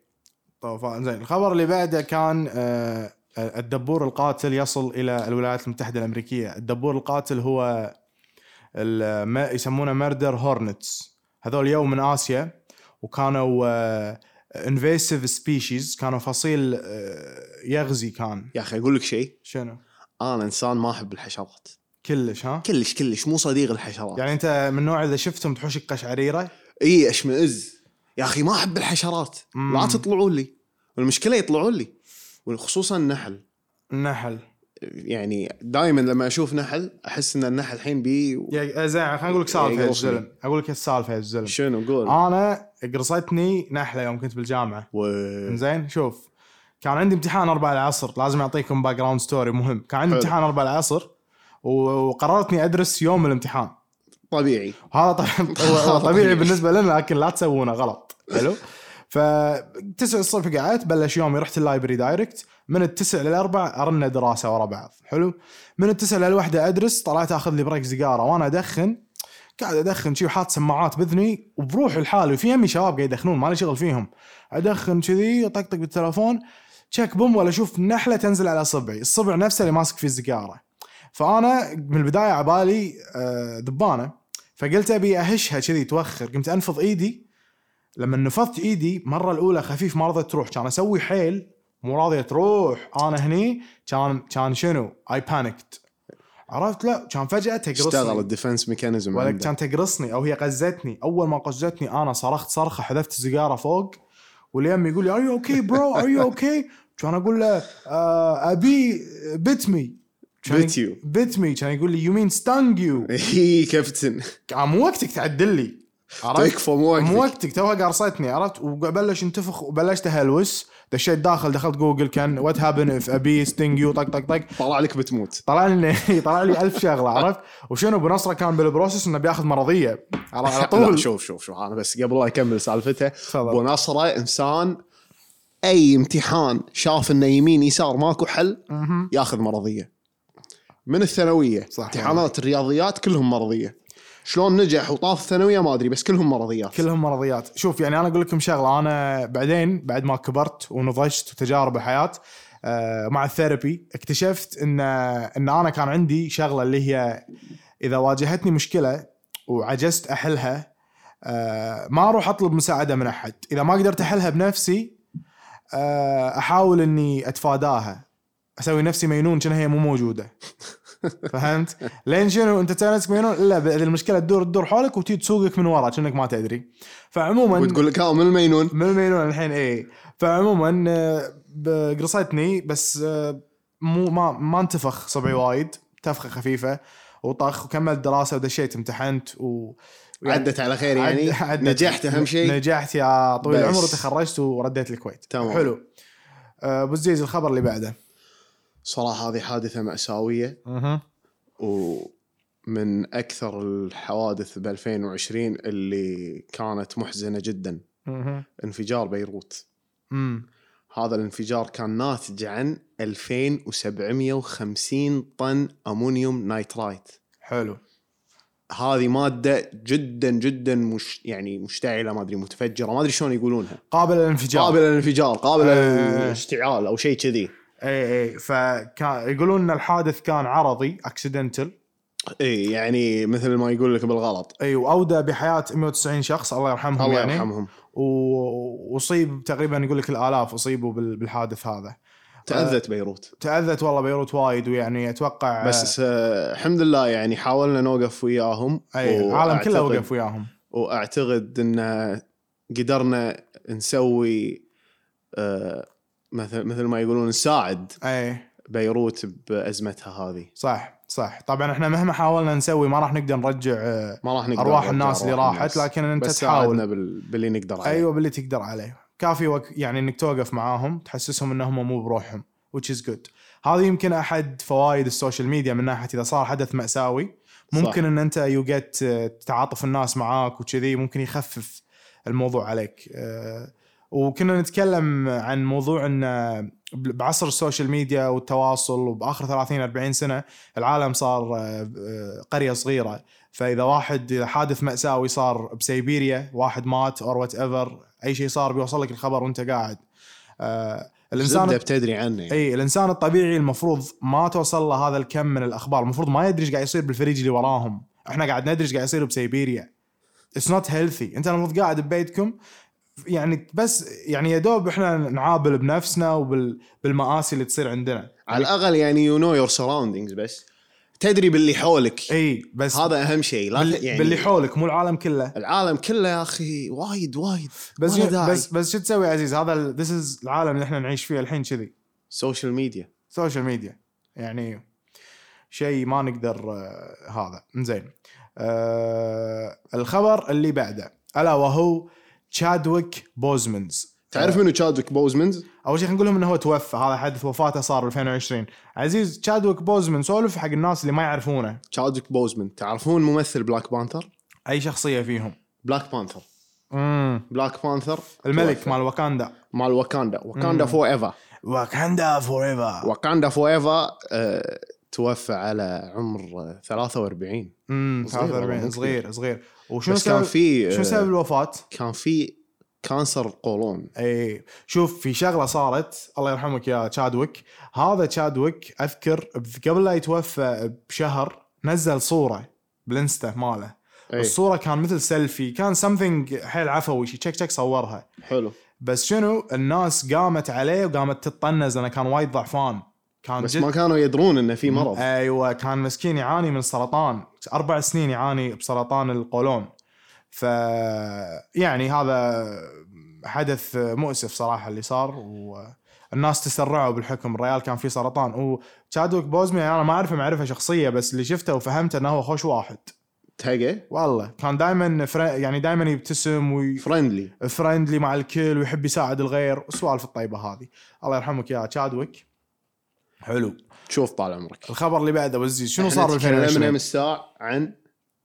Speaker 2: طوف زين طيب، الخبر اللي بعده كان آه، الدبور القاتل يصل الى الولايات المتحده الامريكيه، الدبور القاتل هو ال- ما يسمونه ميردر هورنتس، هذول يوم من اسيا وكانوا انفيسيف سبيشيز كانوا فصيل آه، يغزي كان
Speaker 1: يا اخي اقول لك شيء
Speaker 2: شنو؟
Speaker 1: انا انسان آه، ما احب الحشرات
Speaker 2: كلش ها؟
Speaker 1: كلش كلش مو صديق الحشرات يعني
Speaker 2: يعني انت من نوع اذا شفتهم تحوشك قشعريره؟
Speaker 1: اي اشمئز يا اخي ما احب الحشرات
Speaker 2: مم.
Speaker 1: لا تطلعون لي والمشكله يطلعون لي وخصوصا النحل
Speaker 2: نحل
Speaker 1: يعني دائما لما اشوف نحل احس ان النحل الحين بي
Speaker 2: يا زين خليني اقول لك سالفه يا الزلم، اقول لك السالفه يا الزلم
Speaker 1: شنو
Speaker 2: آه.
Speaker 1: قول
Speaker 2: انا قرصتني نحله يوم كنت بالجامعه
Speaker 1: و...
Speaker 2: زين شوف كان عندي امتحان 4 العصر لازم اعطيكم باك جراوند ستوري مهم كان عندي
Speaker 1: حلو.
Speaker 2: امتحان 4 العصر و- وقررت اني ادرس يوم الامتحان
Speaker 1: طبيعي
Speaker 2: هذا طبعا هو- هو طبيعي بالنسبه لنا لكن لا تسوونه غلط حلو ف 9 الصبح قعدت بلش يومي رحت اللايبرري دايركت من التسع للاربع ارنا دراسه ورا بعض حلو من التسع للوحده ادرس طلعت اخذ لي بريك سيجاره وانا ادخن قاعد ادخن شي وحاط سماعات باذني وبروحي لحالي وفي يمي شباب قاعد يدخنون مالي شغل فيهم ادخن كذي اطقطق بالتلفون تشك بوم ولا اشوف نحله تنزل على صبعي الصبع نفسه اللي ماسك فيه السيجاره فانا من البدايه عبالي آه، دبانه فقلت ابي اهشها كذي توخر قمت انفض ايدي لما نفضت ايدي مره الاولى خفيف ما رضت تروح كان اسوي حيل مو راضيه تروح انا هني كان كان شنو اي بانكت عرفت لا كان فجاه تقرصني
Speaker 1: اشتغل الديفنس ميكانيزم
Speaker 2: ولا
Speaker 1: عنده.
Speaker 2: كانت تقرصني او هي قزتني اول ما قزتني انا صرخت صرخه حذفت سيجاره فوق واليم يقول لي ار يو اوكي برو ار يو اوكي كان اقول له آه، ابي بت مي
Speaker 1: Bit you.
Speaker 2: بت مي كان يقول لي يو مين ستانج يو
Speaker 1: اي كابتن
Speaker 2: كان مو وقتك تعدل لي عرفت
Speaker 1: تكفى مو
Speaker 2: مو
Speaker 1: طيب، وقتك
Speaker 2: وقتك توها قرصتني عرفت وبلش ينتفخ وبلشت اهلوس دشيت داخل دخلت جوجل كان وات هابن اف ابي ستينج يو طق طق طق
Speaker 1: طلع لك بتموت
Speaker 2: طلع لي طلع لي ألف شغله عرفت وشنو بنصره كان بالبروسس انه بياخذ مرضيه على على
Speaker 1: لا
Speaker 2: طول
Speaker 1: شوف شوف شوف انا بس قبل لا اكمل سالفته
Speaker 2: تفضل.
Speaker 1: ابو نصره انسان اي امتحان شاف انه يمين يسار ماكو حل ياخذ مرضيه من الثانويه
Speaker 2: صح.
Speaker 1: امتحانات الرياضيات كلهم مرضيه شلون نجح وطاف الثانويه ما ادري بس كلهم مرضيات
Speaker 2: كلهم مرضيات شوف يعني انا اقول لكم شغله انا بعدين بعد ما كبرت ونضجت وتجارب الحياه آه، مع الثيرابي اكتشفت ان ان انا كان عندي شغله اللي هي اذا واجهتني مشكله وعجزت احلها آه، ما اروح اطلب مساعده من احد اذا ما قدرت احلها بنفسي آه، احاول اني اتفاداها اسوي نفسي مجنون كأنها هي مو موجوده فهمت؟ لين شنو انت تسوي نفسك مجنون الا ب- المشكله تدور تدور حولك وتجي تسوقك من ورا كأنك ما تدري. فعموما
Speaker 1: وتقول لك ها من المينون
Speaker 2: من المينون الحين ايه فعموما آه، ب- قرصتني بس آه، مو ما ما انتفخ صبعي وايد تفخه خفيفه وطخ وكملت دراسه ودشيت امتحنت و
Speaker 1: عدت على خير يعني
Speaker 2: عد- عدت.
Speaker 1: نجحت اهم شيء
Speaker 2: نجحت يا طويل
Speaker 1: بس.
Speaker 2: العمر وتخرجت ورديت الكويت
Speaker 1: تمام.
Speaker 2: حلو آه، ابو زيز الخبر اللي بعده
Speaker 1: صراحه هذه حادثه ماساويه
Speaker 2: اها
Speaker 1: ومن اكثر الحوادث ب 2020 اللي كانت محزنه جدا انفجار بيروت
Speaker 2: امم
Speaker 1: هذا الانفجار كان ناتج عن 2750 طن امونيوم نايترايت
Speaker 2: حلو
Speaker 1: هذه ماده جدا جدا مش يعني مشتعله ما ادري متفجره ما ادري شلون يقولونها
Speaker 2: قابل للانفجار
Speaker 1: قابله للانفجار قابله
Speaker 2: آه.
Speaker 1: للاشتعال او شيء كذي
Speaker 2: اي اي فكان إيه، يقولون ان الحادث كان عرضي اكسيدنتال
Speaker 1: اي يعني مثل ما يقول لك بالغلط
Speaker 2: اي واودى بحياه 190 شخص الله يرحمهم
Speaker 1: الله
Speaker 2: يعني
Speaker 1: يرحمهم
Speaker 2: و- واصيب تقريبا يقول لك الالاف اصيبوا بال- بالحادث هذا
Speaker 1: تاذت بيروت
Speaker 2: تاذت والله بيروت وايد ويعني اتوقع
Speaker 1: بس آه، الحمد لله يعني حاولنا نوقف وياهم
Speaker 2: اي إيه، العالم كله
Speaker 1: وأعتقد-
Speaker 2: وقف وياهم
Speaker 1: واعتقد ان قدرنا نسوي آه، مثل مثل ما يقولون نساعد
Speaker 2: اي
Speaker 1: بيروت بازمتها هذه
Speaker 2: صح صح طبعا احنا مهما حاولنا نسوي ما راح نقدر نرجع آه،
Speaker 1: ما راح نقدر
Speaker 2: ارواح
Speaker 1: نرجع
Speaker 2: الناس اللي
Speaker 1: أرواح
Speaker 2: راحت
Speaker 1: الناس.
Speaker 2: لكن انت
Speaker 1: بس
Speaker 2: تحاول
Speaker 1: ساعدنا بال... باللي نقدر عليه
Speaker 2: ايوه باللي تقدر عليه كافي وك... يعني انك توقف معاهم تحسسهم انهم مو بروحهم which is good هذه يمكن احد فوائد السوشيال ميديا من ناحيه اذا صار حدث ماساوي ممكن
Speaker 1: صح.
Speaker 2: ان انت يو جيت آه، تعاطف الناس معاك وكذي ممكن يخفف الموضوع عليك آه، وكنا نتكلم عن موضوع ان آه، بعصر السوشيال ميديا والتواصل وباخر 30 40 سنه العالم صار آه، آه، قريه صغيره فاذا واحد إذا حادث ماساوي صار بسيبيريا واحد مات اور وات ايفر اي شيء صار بيوصل لك الخبر وانت قاعد آه، الانسان
Speaker 1: زبده بتدري عنه يعني.
Speaker 2: اي الانسان الطبيعي المفروض ما توصل له هذا الكم من الاخبار المفروض ما يدري ايش قاعد يصير بالفريج اللي وراهم احنا قاعد ندري ايش قاعد يصير بسيبيريا اتس نوت هيلثي انت المفروض قاعد ببيتكم يعني بس يعني يا دوب احنا نعابل بنفسنا وبالمآسي اللي تصير عندنا
Speaker 1: على الاقل يعني يو نو يور سراوندينجز بس تدري باللي حولك
Speaker 2: اي بس
Speaker 1: هذا اهم شيء لا
Speaker 2: أيوة. باللي,
Speaker 1: يعني
Speaker 2: باللي حولك مو العالم كله
Speaker 1: العالم كله يا اخي وايد وايد
Speaker 2: بس
Speaker 1: ولا داعي.
Speaker 2: بس بس شو تسوي يا عزيز هذا ذس از العالم اللي احنا نعيش فيه الحين كذي
Speaker 1: سوشيال ميديا
Speaker 2: سوشيال ميديا يعني شيء ما نقدر آه، هذا زين آه الخبر اللي بعده الا وهو تشادويك بوزمنز
Speaker 1: تعرف منو تشادويك بوزمنز؟
Speaker 2: اول شيء خلينا نقول لهم انه هو توفى هذا حدث وفاته صار ب 2020 عزيز تشادويك بوزمن سولف حق الناس اللي ما يعرفونه
Speaker 1: تشادويك بوزمن تعرفون ممثل بلاك بانثر؟
Speaker 2: اي شخصيه فيهم
Speaker 1: بلاك بانثر
Speaker 2: امم
Speaker 1: بلاك بانثر
Speaker 2: الملك
Speaker 1: توفى.
Speaker 2: مال واكاندا
Speaker 1: مال واكاندا واكاندا
Speaker 2: مم.
Speaker 1: فور ايفر
Speaker 2: واكاندا فور ايفر
Speaker 1: واكاندا فور ايفر آه، توفى على عمر آه، 43
Speaker 2: امم
Speaker 1: صغير والله، مو
Speaker 2: 43
Speaker 1: كبير.
Speaker 2: صغير صغير وشنو
Speaker 1: بس كان
Speaker 2: سبب
Speaker 1: في
Speaker 2: شنو سبب
Speaker 1: آه،
Speaker 2: الوفاه؟
Speaker 1: كان في كانسر القولون
Speaker 2: اي إيه. شوف في شغله صارت الله يرحمك يا تشادويك هذا تشادويك اذكر ب- قبل لا يتوفى بشهر نزل صوره بالانستا ماله
Speaker 1: اي
Speaker 2: الصوره كان مثل سيلفي كان سمثينج حيل عفوي شي تشك تشك صورها
Speaker 1: حلو
Speaker 2: بس شنو الناس قامت عليه وقامت تطنز لانه كان وايد ضعفان كان
Speaker 1: بس
Speaker 2: جد-
Speaker 1: ما كانوا يدرون انه في مرض
Speaker 2: ايوه كان مسكين يعاني من سرطان اربع سنين يعاني بسرطان القولون ف يعني هذا حدث مؤسف صراحه اللي صار والناس تسرعوا بالحكم الريال كان فيه سرطان وتشادويك بوزمي انا ما اعرفه معرفه شخصيه بس اللي شفته وفهمته انه هو خوش واحد
Speaker 1: تهقى
Speaker 2: والله كان دائما فري... يعني دائما يبتسم وي...
Speaker 1: فريندلي
Speaker 2: فريندلي مع الكل ويحب يساعد الغير والسوالف الطيبه هذه الله يرحمك يا تشادويك حلو
Speaker 1: شوف طال عمرك
Speaker 2: الخبر اللي بعده وزي شنو صار
Speaker 1: احنا
Speaker 2: بال
Speaker 1: تكلمنا
Speaker 2: 2020
Speaker 1: من ساعه عن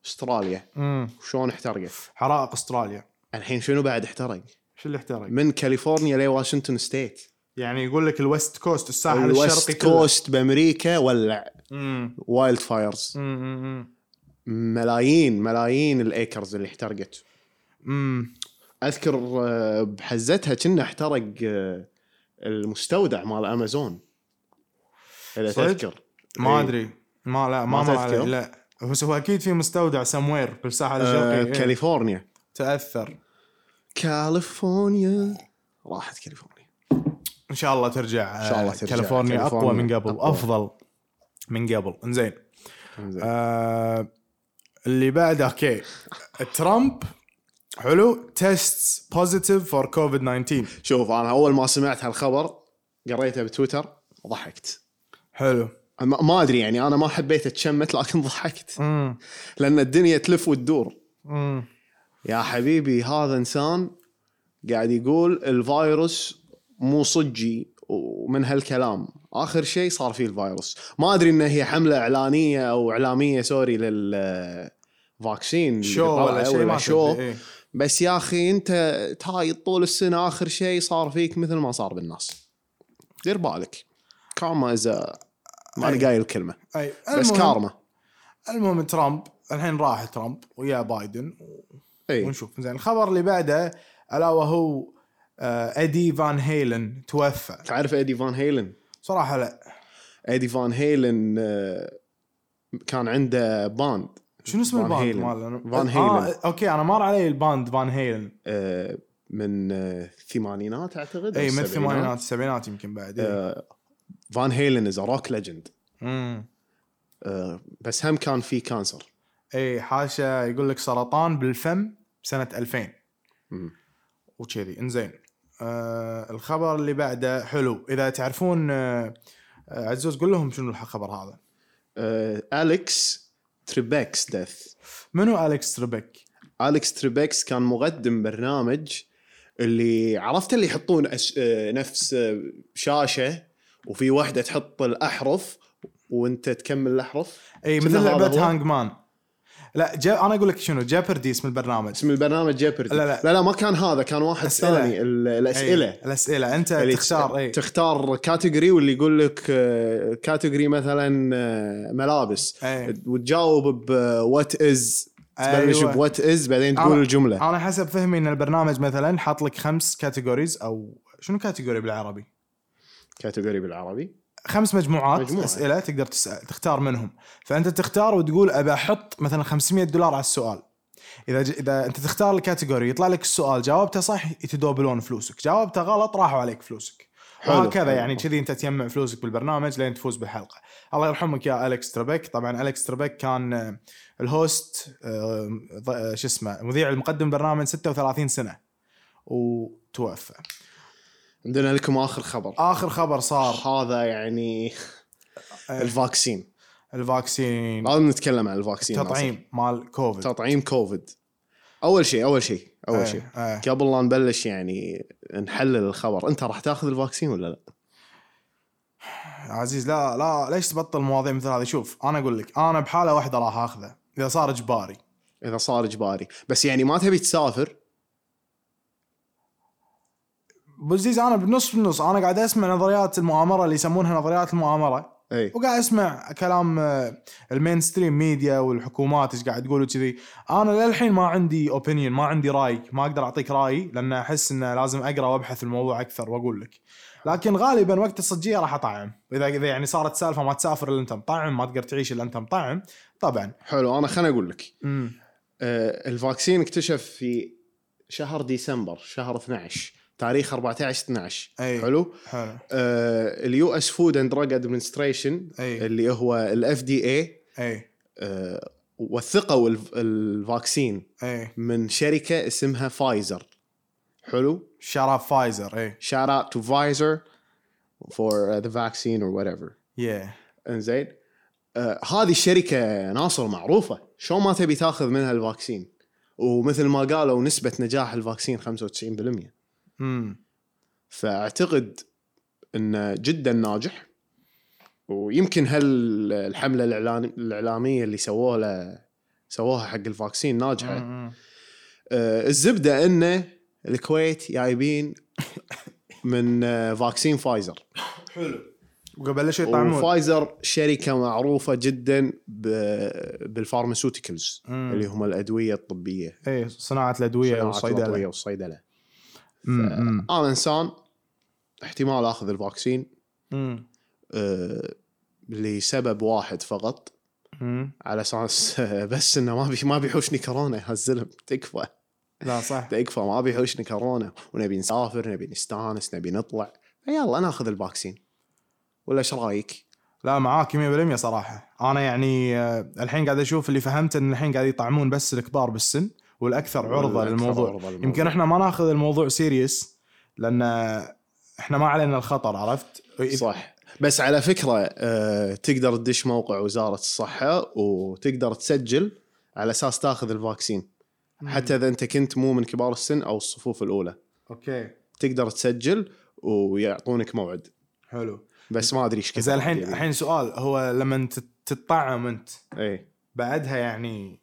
Speaker 1: استراليا
Speaker 2: امم
Speaker 1: شلون احترقت
Speaker 2: حرائق استراليا
Speaker 1: الحين شنو بعد احترق
Speaker 2: شو اللي احترق؟
Speaker 1: من كاليفورنيا لواشنطن ستيت
Speaker 2: يعني يقول لك الويست كوست الساحل
Speaker 1: الوست
Speaker 2: الشرقي كله
Speaker 1: كوست بامريكا ولع
Speaker 2: امم
Speaker 1: وايلد فايرز
Speaker 2: امم
Speaker 1: ملايين ملايين الايكرز اللي احترقت
Speaker 2: امم
Speaker 1: اذكر آه، بحزتها كنا احترق آه، المستودع مال امازون اذا
Speaker 2: صدق؟
Speaker 1: تذكر
Speaker 2: ما
Speaker 1: إي.
Speaker 2: ادري ما لا
Speaker 1: إيه. ما
Speaker 2: ما مر علي
Speaker 1: تذكر؟
Speaker 2: لا بس هو اكيد في إيه. مستودع سموير بالساحه
Speaker 1: آه،
Speaker 2: الشرقيه إي.
Speaker 1: كاليفورنيا
Speaker 2: تاثر
Speaker 1: كاليفورنيا راحت كاليفورنيا
Speaker 2: ان شاء الله ترجع
Speaker 1: إن شاء الله
Speaker 2: آه،
Speaker 1: ترجع.
Speaker 2: كاليفورنيا اقوى
Speaker 1: كاليفورنيا
Speaker 2: من قبل
Speaker 1: أقوى.
Speaker 2: افضل من قبل انزين
Speaker 1: إنزين.
Speaker 2: آه اللي بعده اوكي ترامب حلو تيست بوزيتيف فور كوفيد 19
Speaker 1: شوف انا اول ما سمعت هالخبر قريته بتويتر ضحكت
Speaker 2: حلو
Speaker 1: ما ما ادري يعني انا ما حبيت اتشمت لكن ضحكت
Speaker 2: امم
Speaker 1: لان الدنيا تلف وتدور
Speaker 2: امم
Speaker 1: يا حبيبي هذا انسان قاعد يقول الفيروس مو صجي ومن هالكلام اخر شيء صار فيه الفيروس ما ادري ان هي حمله اعلانيه او اعلاميه سوري للفاكسين اللي
Speaker 2: شو ولا
Speaker 1: طلع
Speaker 2: شيء ما
Speaker 1: شو
Speaker 2: تدري، إيه.
Speaker 1: بس يا اخي انت تايد طول السنه اخر شيء صار فيك مثل ما صار بالناس دير بالك كارما از ما انا قايل الكلمه
Speaker 2: أي.
Speaker 1: بس
Speaker 2: إيه. المهم-
Speaker 1: كارما
Speaker 2: المهم ترامب الحين راح ترامب ويا بايدن
Speaker 1: اي
Speaker 2: ونشوف زين الخبر اللي بعده الا وهو آه، ادي فان هيلن توفى
Speaker 1: تعرف ايدي فان هيلن
Speaker 2: صراحه لا
Speaker 1: ايدي فان هيلن آه، كان عنده باند
Speaker 2: شنو اسم
Speaker 1: فان
Speaker 2: الباند
Speaker 1: هيلن.
Speaker 2: ماله
Speaker 1: فان هيلن.
Speaker 2: آه اوكي انا مر علي الباند فان هيلن
Speaker 1: آه، من آه، الثمانينات اعتقد أو
Speaker 2: اي من
Speaker 1: السبعينات.
Speaker 2: الثمانينات السبعينات يمكن بعد إيه.
Speaker 1: آه، فان هيلن از روك ليجند
Speaker 2: امم
Speaker 1: آه، بس هم كان في كانسر
Speaker 2: اي إيه، حاشا يقول لك سرطان بالفم سنه 2000
Speaker 1: مم.
Speaker 2: وكذي انزين آه الخبر اللي بعده حلو اذا تعرفون آه آه، عزوز قول لهم شنو الخبر هذا
Speaker 1: آه، اليكس تريبكس ديث
Speaker 2: منو اليكس تربك
Speaker 1: اليكس تريبكس كان مقدم برنامج اللي عرفت اللي يحطون أش... آه، نفس آه، شاشه وفي واحده تحط الاحرف وانت تكمل الاحرف
Speaker 2: اي
Speaker 1: شنو
Speaker 2: مثل
Speaker 1: هذا
Speaker 2: لعبه
Speaker 1: هو؟
Speaker 2: هانج مان لا جا... انا اقول لك شنو جابردي اسم البرنامج
Speaker 1: اسم البرنامج جيبردي
Speaker 2: لا لا.
Speaker 1: لا لا ما كان هذا كان واحد
Speaker 2: أسئلة.
Speaker 1: ثاني ال- الاسئله
Speaker 2: أي. الاسئله انت
Speaker 1: اللي
Speaker 2: تختار اي
Speaker 1: تختار كاتيجوري واللي يقول لك آه، كاتيجوري مثلا آه، ملابس
Speaker 2: أي.
Speaker 1: وتجاوب بوات از تبلش
Speaker 2: أيوة.
Speaker 1: بوات از بعدين
Speaker 2: أنا-
Speaker 1: تقول الجمله
Speaker 2: انا حسب فهمي ان البرنامج مثلا حاط لك خمس كاتيجوريز او شنو كاتيجوري بالعربي؟
Speaker 1: كاتيجوري بالعربي
Speaker 2: خمس مجموعات
Speaker 1: مجموعة.
Speaker 2: مجموعة. اسئله تقدر تسال تختار منهم فانت تختار وتقول ابى احط مثلا 500 دولار على السؤال اذا ج... اذا انت تختار الكاتيجوري يطلع لك السؤال جاوبته صح يتدوبلون فلوسك جاوبته غلط راحوا عليك فلوسك
Speaker 1: حلو.
Speaker 2: وهكذا
Speaker 1: حلو.
Speaker 2: يعني كذي انت تجمع فلوسك بالبرنامج لين تفوز بالحلقه الله يرحمك يا الكس تربك طبعا الكس تربك كان آه، الهوست آه، ض- آه، شو اسمه مذيع المقدم برنامج 36 سنه وتوفى
Speaker 1: عندنا لكم اخر خبر
Speaker 2: اخر خبر صار
Speaker 1: هذا يعني
Speaker 2: آه،
Speaker 1: الفاكسين
Speaker 2: الفاكسين
Speaker 1: لازم نتكلم عن الفاكسين ناصر.
Speaker 2: تطعيم مال كوفيد
Speaker 1: تطعيم كوفيد اول شيء اول شيء اول شيء
Speaker 2: ايه. ايه.
Speaker 1: قبل لا نبلش يعني نحلل الخبر انت راح تاخذ الفاكسين ولا لا
Speaker 2: عزيز لا لا ليش تبطل مواضيع مثل هذه شوف انا اقول لك انا بحاله واحده راح اخذه اذا صار اجباري
Speaker 1: اذا صار اجباري بس يعني ما تبي تسافر
Speaker 2: بزيز انا بالنص بالنص انا قاعد اسمع نظريات المؤامره اللي يسمونها نظريات المؤامره
Speaker 1: اي
Speaker 2: وقاعد اسمع كلام آه، المين ستريم ميديا والحكومات ايش قاعد تقول وكذي انا للحين ما عندي اوبينيون ما عندي راي ما اقدر اعطيك رايي لان احس انه لازم اقرا وابحث الموضوع اكثر واقول لك لكن غالبا وقت الصجيه راح اطعم اذا اذا يعني صارت سالفه ما تسافر الا انت مطعم ما تقدر تعيش الا انت مطعم طبعا
Speaker 1: حلو انا خليني اقول لك
Speaker 2: امم
Speaker 1: آه الفاكسين اكتشف في شهر ديسمبر شهر 12 تاريخ 14 12
Speaker 2: أي.
Speaker 1: حلو
Speaker 2: حلو
Speaker 1: آه اليو اس فود اند دراج ادمنستريشن
Speaker 2: أي.
Speaker 1: اللي هو الاف دي اي
Speaker 2: اي
Speaker 1: وثقوا الف- الفاكسين
Speaker 2: اي
Speaker 1: من شركه اسمها فايزر حلو
Speaker 2: شراب فايزر اي
Speaker 1: shout out to Pfizer for uh, the vaccine or whatever
Speaker 2: يا
Speaker 1: انزين آه هذه الشركه ناصر معروفه شو ما تبي تاخذ منها الفاكسين ومثل ما قالوا نسبه نجاح الفاكسين 95%
Speaker 2: امم
Speaker 1: فاعتقد انه جدا ناجح ويمكن هالحمله الإعلان- الاعلاميه اللي سووها له سووها حق الفاكسين ناجحه آه، الزبده انه الكويت جايبين من آه، فاكسين فايزر
Speaker 2: حلو وبلشوا يطعمون
Speaker 1: وفايزر شركه معروفه جدا ب- بالفارماسيوتيكلز
Speaker 2: مم.
Speaker 1: اللي هم الادويه الطبيه
Speaker 2: اي صناعه الادويه
Speaker 1: صناعة
Speaker 2: والصيدله
Speaker 1: الأدوية والصيدله
Speaker 2: مم، مم،
Speaker 1: انا انسان احتمال اخذ الفاكسين
Speaker 2: مم،
Speaker 1: آه، لسبب واحد فقط
Speaker 2: مم.
Speaker 1: على اساس بس انه ما بي ما بيحوشني كورونا يا الزلم تكفى
Speaker 2: لا صح
Speaker 1: تكفى ما بيحوشني كورونا ونبي نسافر نبي نستانس نبي نطلع يلا ناخذ الفاكسين ولا ايش رايك؟
Speaker 2: لا معاك 100% صراحه انا يعني آه، الحين قاعد اشوف اللي فهمت ان الحين قاعد يطعمون بس الكبار بالسن والاكثر عرضه
Speaker 1: والأكثر
Speaker 2: للموضوع
Speaker 1: عرضة للموضوع.
Speaker 2: يمكن احنا ما ناخذ الموضوع سيريس لان احنا ما علينا الخطر عرفت؟
Speaker 1: صح بس على فكره آه، تقدر تدش موقع وزاره الصحه وتقدر تسجل على اساس تاخذ الفاكسين حتى اذا انت كنت مو من كبار السن او الصفوف الاولى
Speaker 2: اوكي
Speaker 1: تقدر تسجل ويعطونك موعد
Speaker 2: حلو
Speaker 1: بس ما ادري ايش كثر
Speaker 2: زين الحين
Speaker 1: يعني.
Speaker 2: الحين سؤال هو لما تت- تتطعم انت
Speaker 1: اي
Speaker 2: بعدها يعني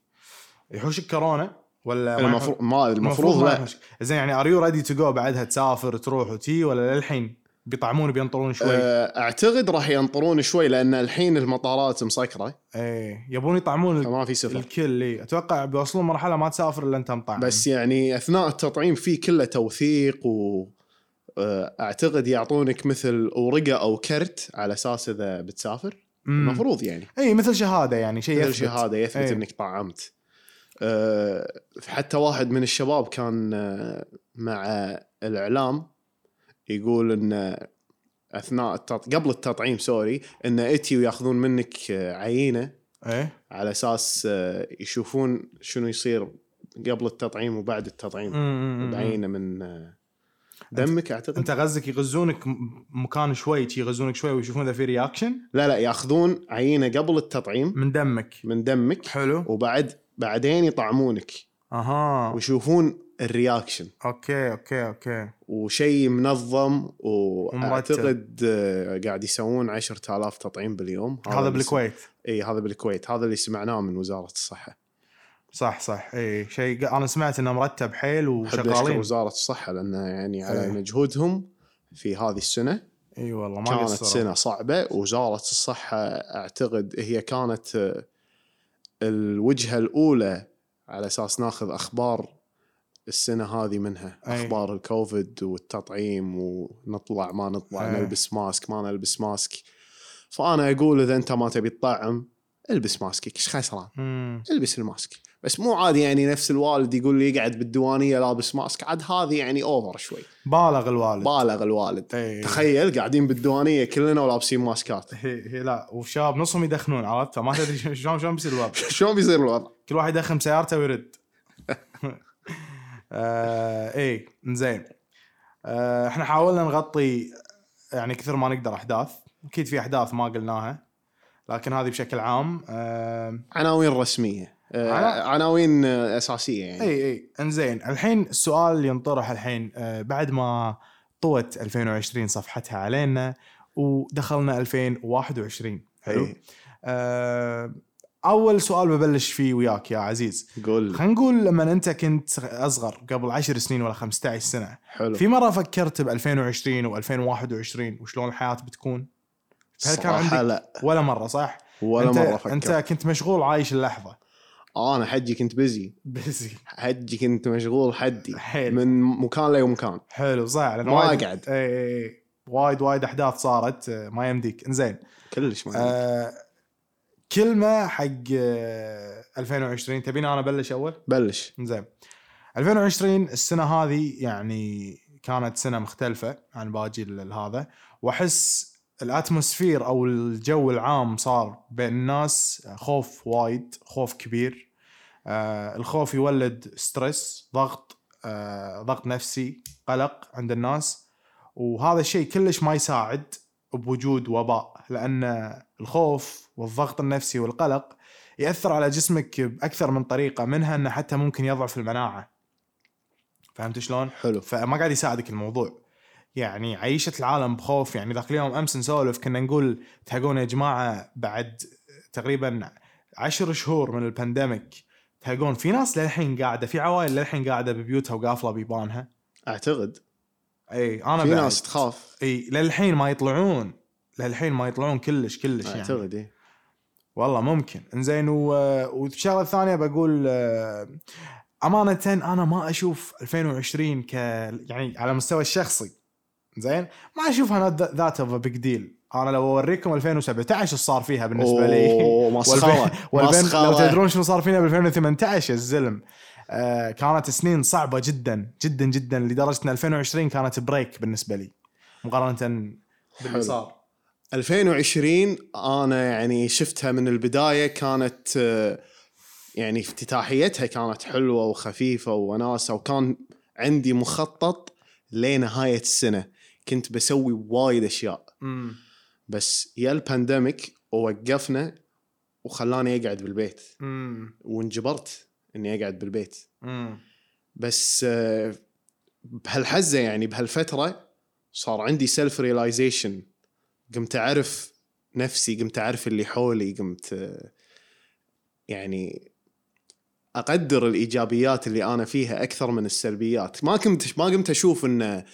Speaker 2: يحوشك كورونا ولا ما
Speaker 1: المفروض
Speaker 2: يحوش-
Speaker 1: ما المفروض
Speaker 2: ما
Speaker 1: لا
Speaker 2: يحوشك. زين يعني ار يو ريدي تو جو بعدها تسافر تروح وتي ولا للحين بيطعمون بينطرون شوي؟
Speaker 1: آه، اعتقد راح ينطرون شوي لان الحين المطارات مسكره
Speaker 2: ايه يبون يطعمون الك-
Speaker 1: فما في سفر
Speaker 2: الكل اي اتوقع بيوصلون مرحله ما تسافر الا انت مطعم
Speaker 1: بس يعني اثناء التطعيم في كله توثيق و آه، اعتقد يعطونك مثل اورقه او كرت على اساس اذا بتسافر
Speaker 2: المفروض
Speaker 1: المفروض يعني
Speaker 2: اي مثل شهاده يعني شيء
Speaker 1: مثل
Speaker 2: يثبت.
Speaker 1: شهاده يثبت
Speaker 2: إيه.
Speaker 1: انك طعمت آه، حتى واحد من الشباب كان آه، مع الاعلام يقول ان آه، اثناء التط... قبل التطعيم سوري ان اتي وياخذون منك آه، عينه
Speaker 2: ايه
Speaker 1: على اساس آه، يشوفون شنو يصير قبل التطعيم وبعد التطعيم
Speaker 2: أمم.
Speaker 1: بعينه من آه، دمك اعتقد
Speaker 2: انت غزك يغزونك م- مكان شوي شي يغزونك شوي ويشوفون اذا في رياكشن
Speaker 1: لا لا ياخذون عينه قبل التطعيم
Speaker 2: من دمك
Speaker 1: من دمك
Speaker 2: حلو
Speaker 1: وبعد بعدين يطعمونك
Speaker 2: اها
Speaker 1: ويشوفون الرياكشن
Speaker 2: اوكي اوكي اوكي
Speaker 1: وشيء منظم واعتقد
Speaker 2: ومرتب.
Speaker 1: آه، قاعد يسوون 10000 تطعيم باليوم
Speaker 2: هذا
Speaker 1: اللي سم-
Speaker 2: بالكويت
Speaker 1: اي هذا بالكويت هذا اللي سمعناه من وزاره الصحه
Speaker 2: صح صح اي شيء انا سمعت انه مرتب حيل
Speaker 1: احب اشكر
Speaker 2: وشغالين
Speaker 1: وزاره الصحه لانه يعني على
Speaker 2: إيه.
Speaker 1: مجهودهم في هذه السنه
Speaker 2: اي والله ما
Speaker 1: كانت
Speaker 2: قصروا.
Speaker 1: سنه صعبه وزاره الصحه اعتقد هي كانت آه، الوجهه الاولى على اساس ناخذ اخبار السنه هذه منها
Speaker 2: أي.
Speaker 1: اخبار الكوفيد والتطعيم ونطلع ما نطلع
Speaker 2: أي.
Speaker 1: نلبس ماسك ما نلبس ماسك فانا اقول اذا انت ما تبي تطعم البس ماسكك ايش خسران
Speaker 2: أمم.
Speaker 1: البس الماسك بس مو عادي يعني نفس الوالد يقول لي يقعد بالديوانيه لابس ماسك عاد هذه يعني اوفر شوي
Speaker 2: بالغ الوالد
Speaker 1: بالغ الوالد
Speaker 2: إي.
Speaker 1: تخيل قاعدين بالديوانيه كلنا ولابسين ماسكات
Speaker 2: هي هي لا والشباب نصهم يدخنون عرفت فما تدري شلون- شلون شلون بيصير الوضع
Speaker 1: شلون بيصير الوضع؟
Speaker 2: كل واحد يدخن بسيارته ويرد آه ايه زين آه احنا حاولنا نغطي يعني كثر ما نقدر احداث اكيد في احداث ما قلناها لكن هذه بشكل عام آه
Speaker 1: عناوين رسميه آه،
Speaker 2: عنا-
Speaker 1: عناوين آه، اساسيه يعني
Speaker 2: اي اي انزين إيه. الحين السؤال اللي ينطرح الحين آه بعد ما طوت 2020 صفحتها علينا ودخلنا 2021 حلو
Speaker 1: إي.
Speaker 2: آه اول سؤال ببلش فيه وياك يا عزيز
Speaker 1: قول
Speaker 2: خلينا نقول لما انت كنت اصغر قبل 10 سنين ولا 15 سنه
Speaker 1: حلو
Speaker 2: في مره فكرت ب 2020 و2021 وشلون الحياه بتكون هل كان
Speaker 1: صراحة
Speaker 2: عندك-
Speaker 1: لا
Speaker 2: ولا مره صح
Speaker 1: ولا
Speaker 2: انت
Speaker 1: مره فكرت
Speaker 2: انت
Speaker 1: انت...
Speaker 2: كنت مشغول عايش اللحظه
Speaker 1: انا حجي كنت بزي
Speaker 2: بزي
Speaker 1: حجي كنت مشغول حدي
Speaker 2: حيل
Speaker 1: من مكان لمكان
Speaker 2: حلو صح لأن
Speaker 1: ما
Speaker 2: وايد-
Speaker 1: أقعد.
Speaker 2: اي اي اي وايد وايد احداث صارت آه، ما يمديك انزين
Speaker 1: كلش ما
Speaker 2: آه كلمه حق آه 2020 تبيني انا ابلش اول
Speaker 1: بلش
Speaker 2: زين 2020 السنه هذه يعني كانت سنه مختلفه عن باقي ال- هذا واحس الاتموسفير او الجو العام صار بين الناس خوف وايد خوف كبير آه الخوف يولد ستريس ضغط آه ضغط نفسي قلق عند الناس وهذا الشيء كلش ما يساعد بوجود وباء لان الخوف والضغط النفسي والقلق ياثر على جسمك باكثر من طريقه منها انه حتى ممكن يضعف المناعه فهمت شلون
Speaker 1: حلو
Speaker 2: فما قاعد يساعدك الموضوع يعني عيشه العالم بخوف يعني ذاك اليوم امس نسولف كنا نقول تهقون يا جماعه بعد تقريبا عشر شهور من البانديميك تهقون في ناس للحين قاعده في عوائل للحين قاعده ببيوتها وقافله بيبانها
Speaker 1: اعتقد
Speaker 2: اي انا
Speaker 1: في
Speaker 2: بعد.
Speaker 1: ناس تخاف
Speaker 2: اي للحين ما يطلعون للحين ما يطلعون كلش كلش يعني
Speaker 1: اعتقد إيه.
Speaker 2: والله ممكن انزين و... والشغله الثانيه بقول آه، امانه انا ما اشوف 2020 ك يعني على مستوى الشخصي زين ما اشوفها ذات اوف بيج ديل انا لو اوريكم 2017 ايش صار فيها بالنسبه لي
Speaker 1: اوه مسخره
Speaker 2: والبن لو
Speaker 1: مسخره
Speaker 2: تدرون شنو صار فينا ب 2018 يا الزلم آه كانت سنين صعبه جدا جدا جدا لدرجه ان 2020 كانت بريك بالنسبه لي مقارنه باللي
Speaker 1: حلو.
Speaker 2: صار
Speaker 1: 2020 انا يعني شفتها من البدايه كانت آه، يعني افتتاحيتها كانت حلوه وخفيفه ووناسه وكان عندي مخطط لنهايه السنه كنت بسوي وايد اشياء
Speaker 2: مم.
Speaker 1: بس يا البانديميك وقفنا وخلاني اقعد بالبيت
Speaker 2: مم.
Speaker 1: وانجبرت اني اقعد بالبيت
Speaker 2: مم.
Speaker 1: بس آه، بهالحزه يعني بهالفتره صار عندي سيلف ريلايزيشن قمت اعرف نفسي قمت اعرف اللي حولي قمت آه، يعني اقدر الايجابيات اللي انا فيها اكثر من السلبيات ما كنت ما قمت اشوف انه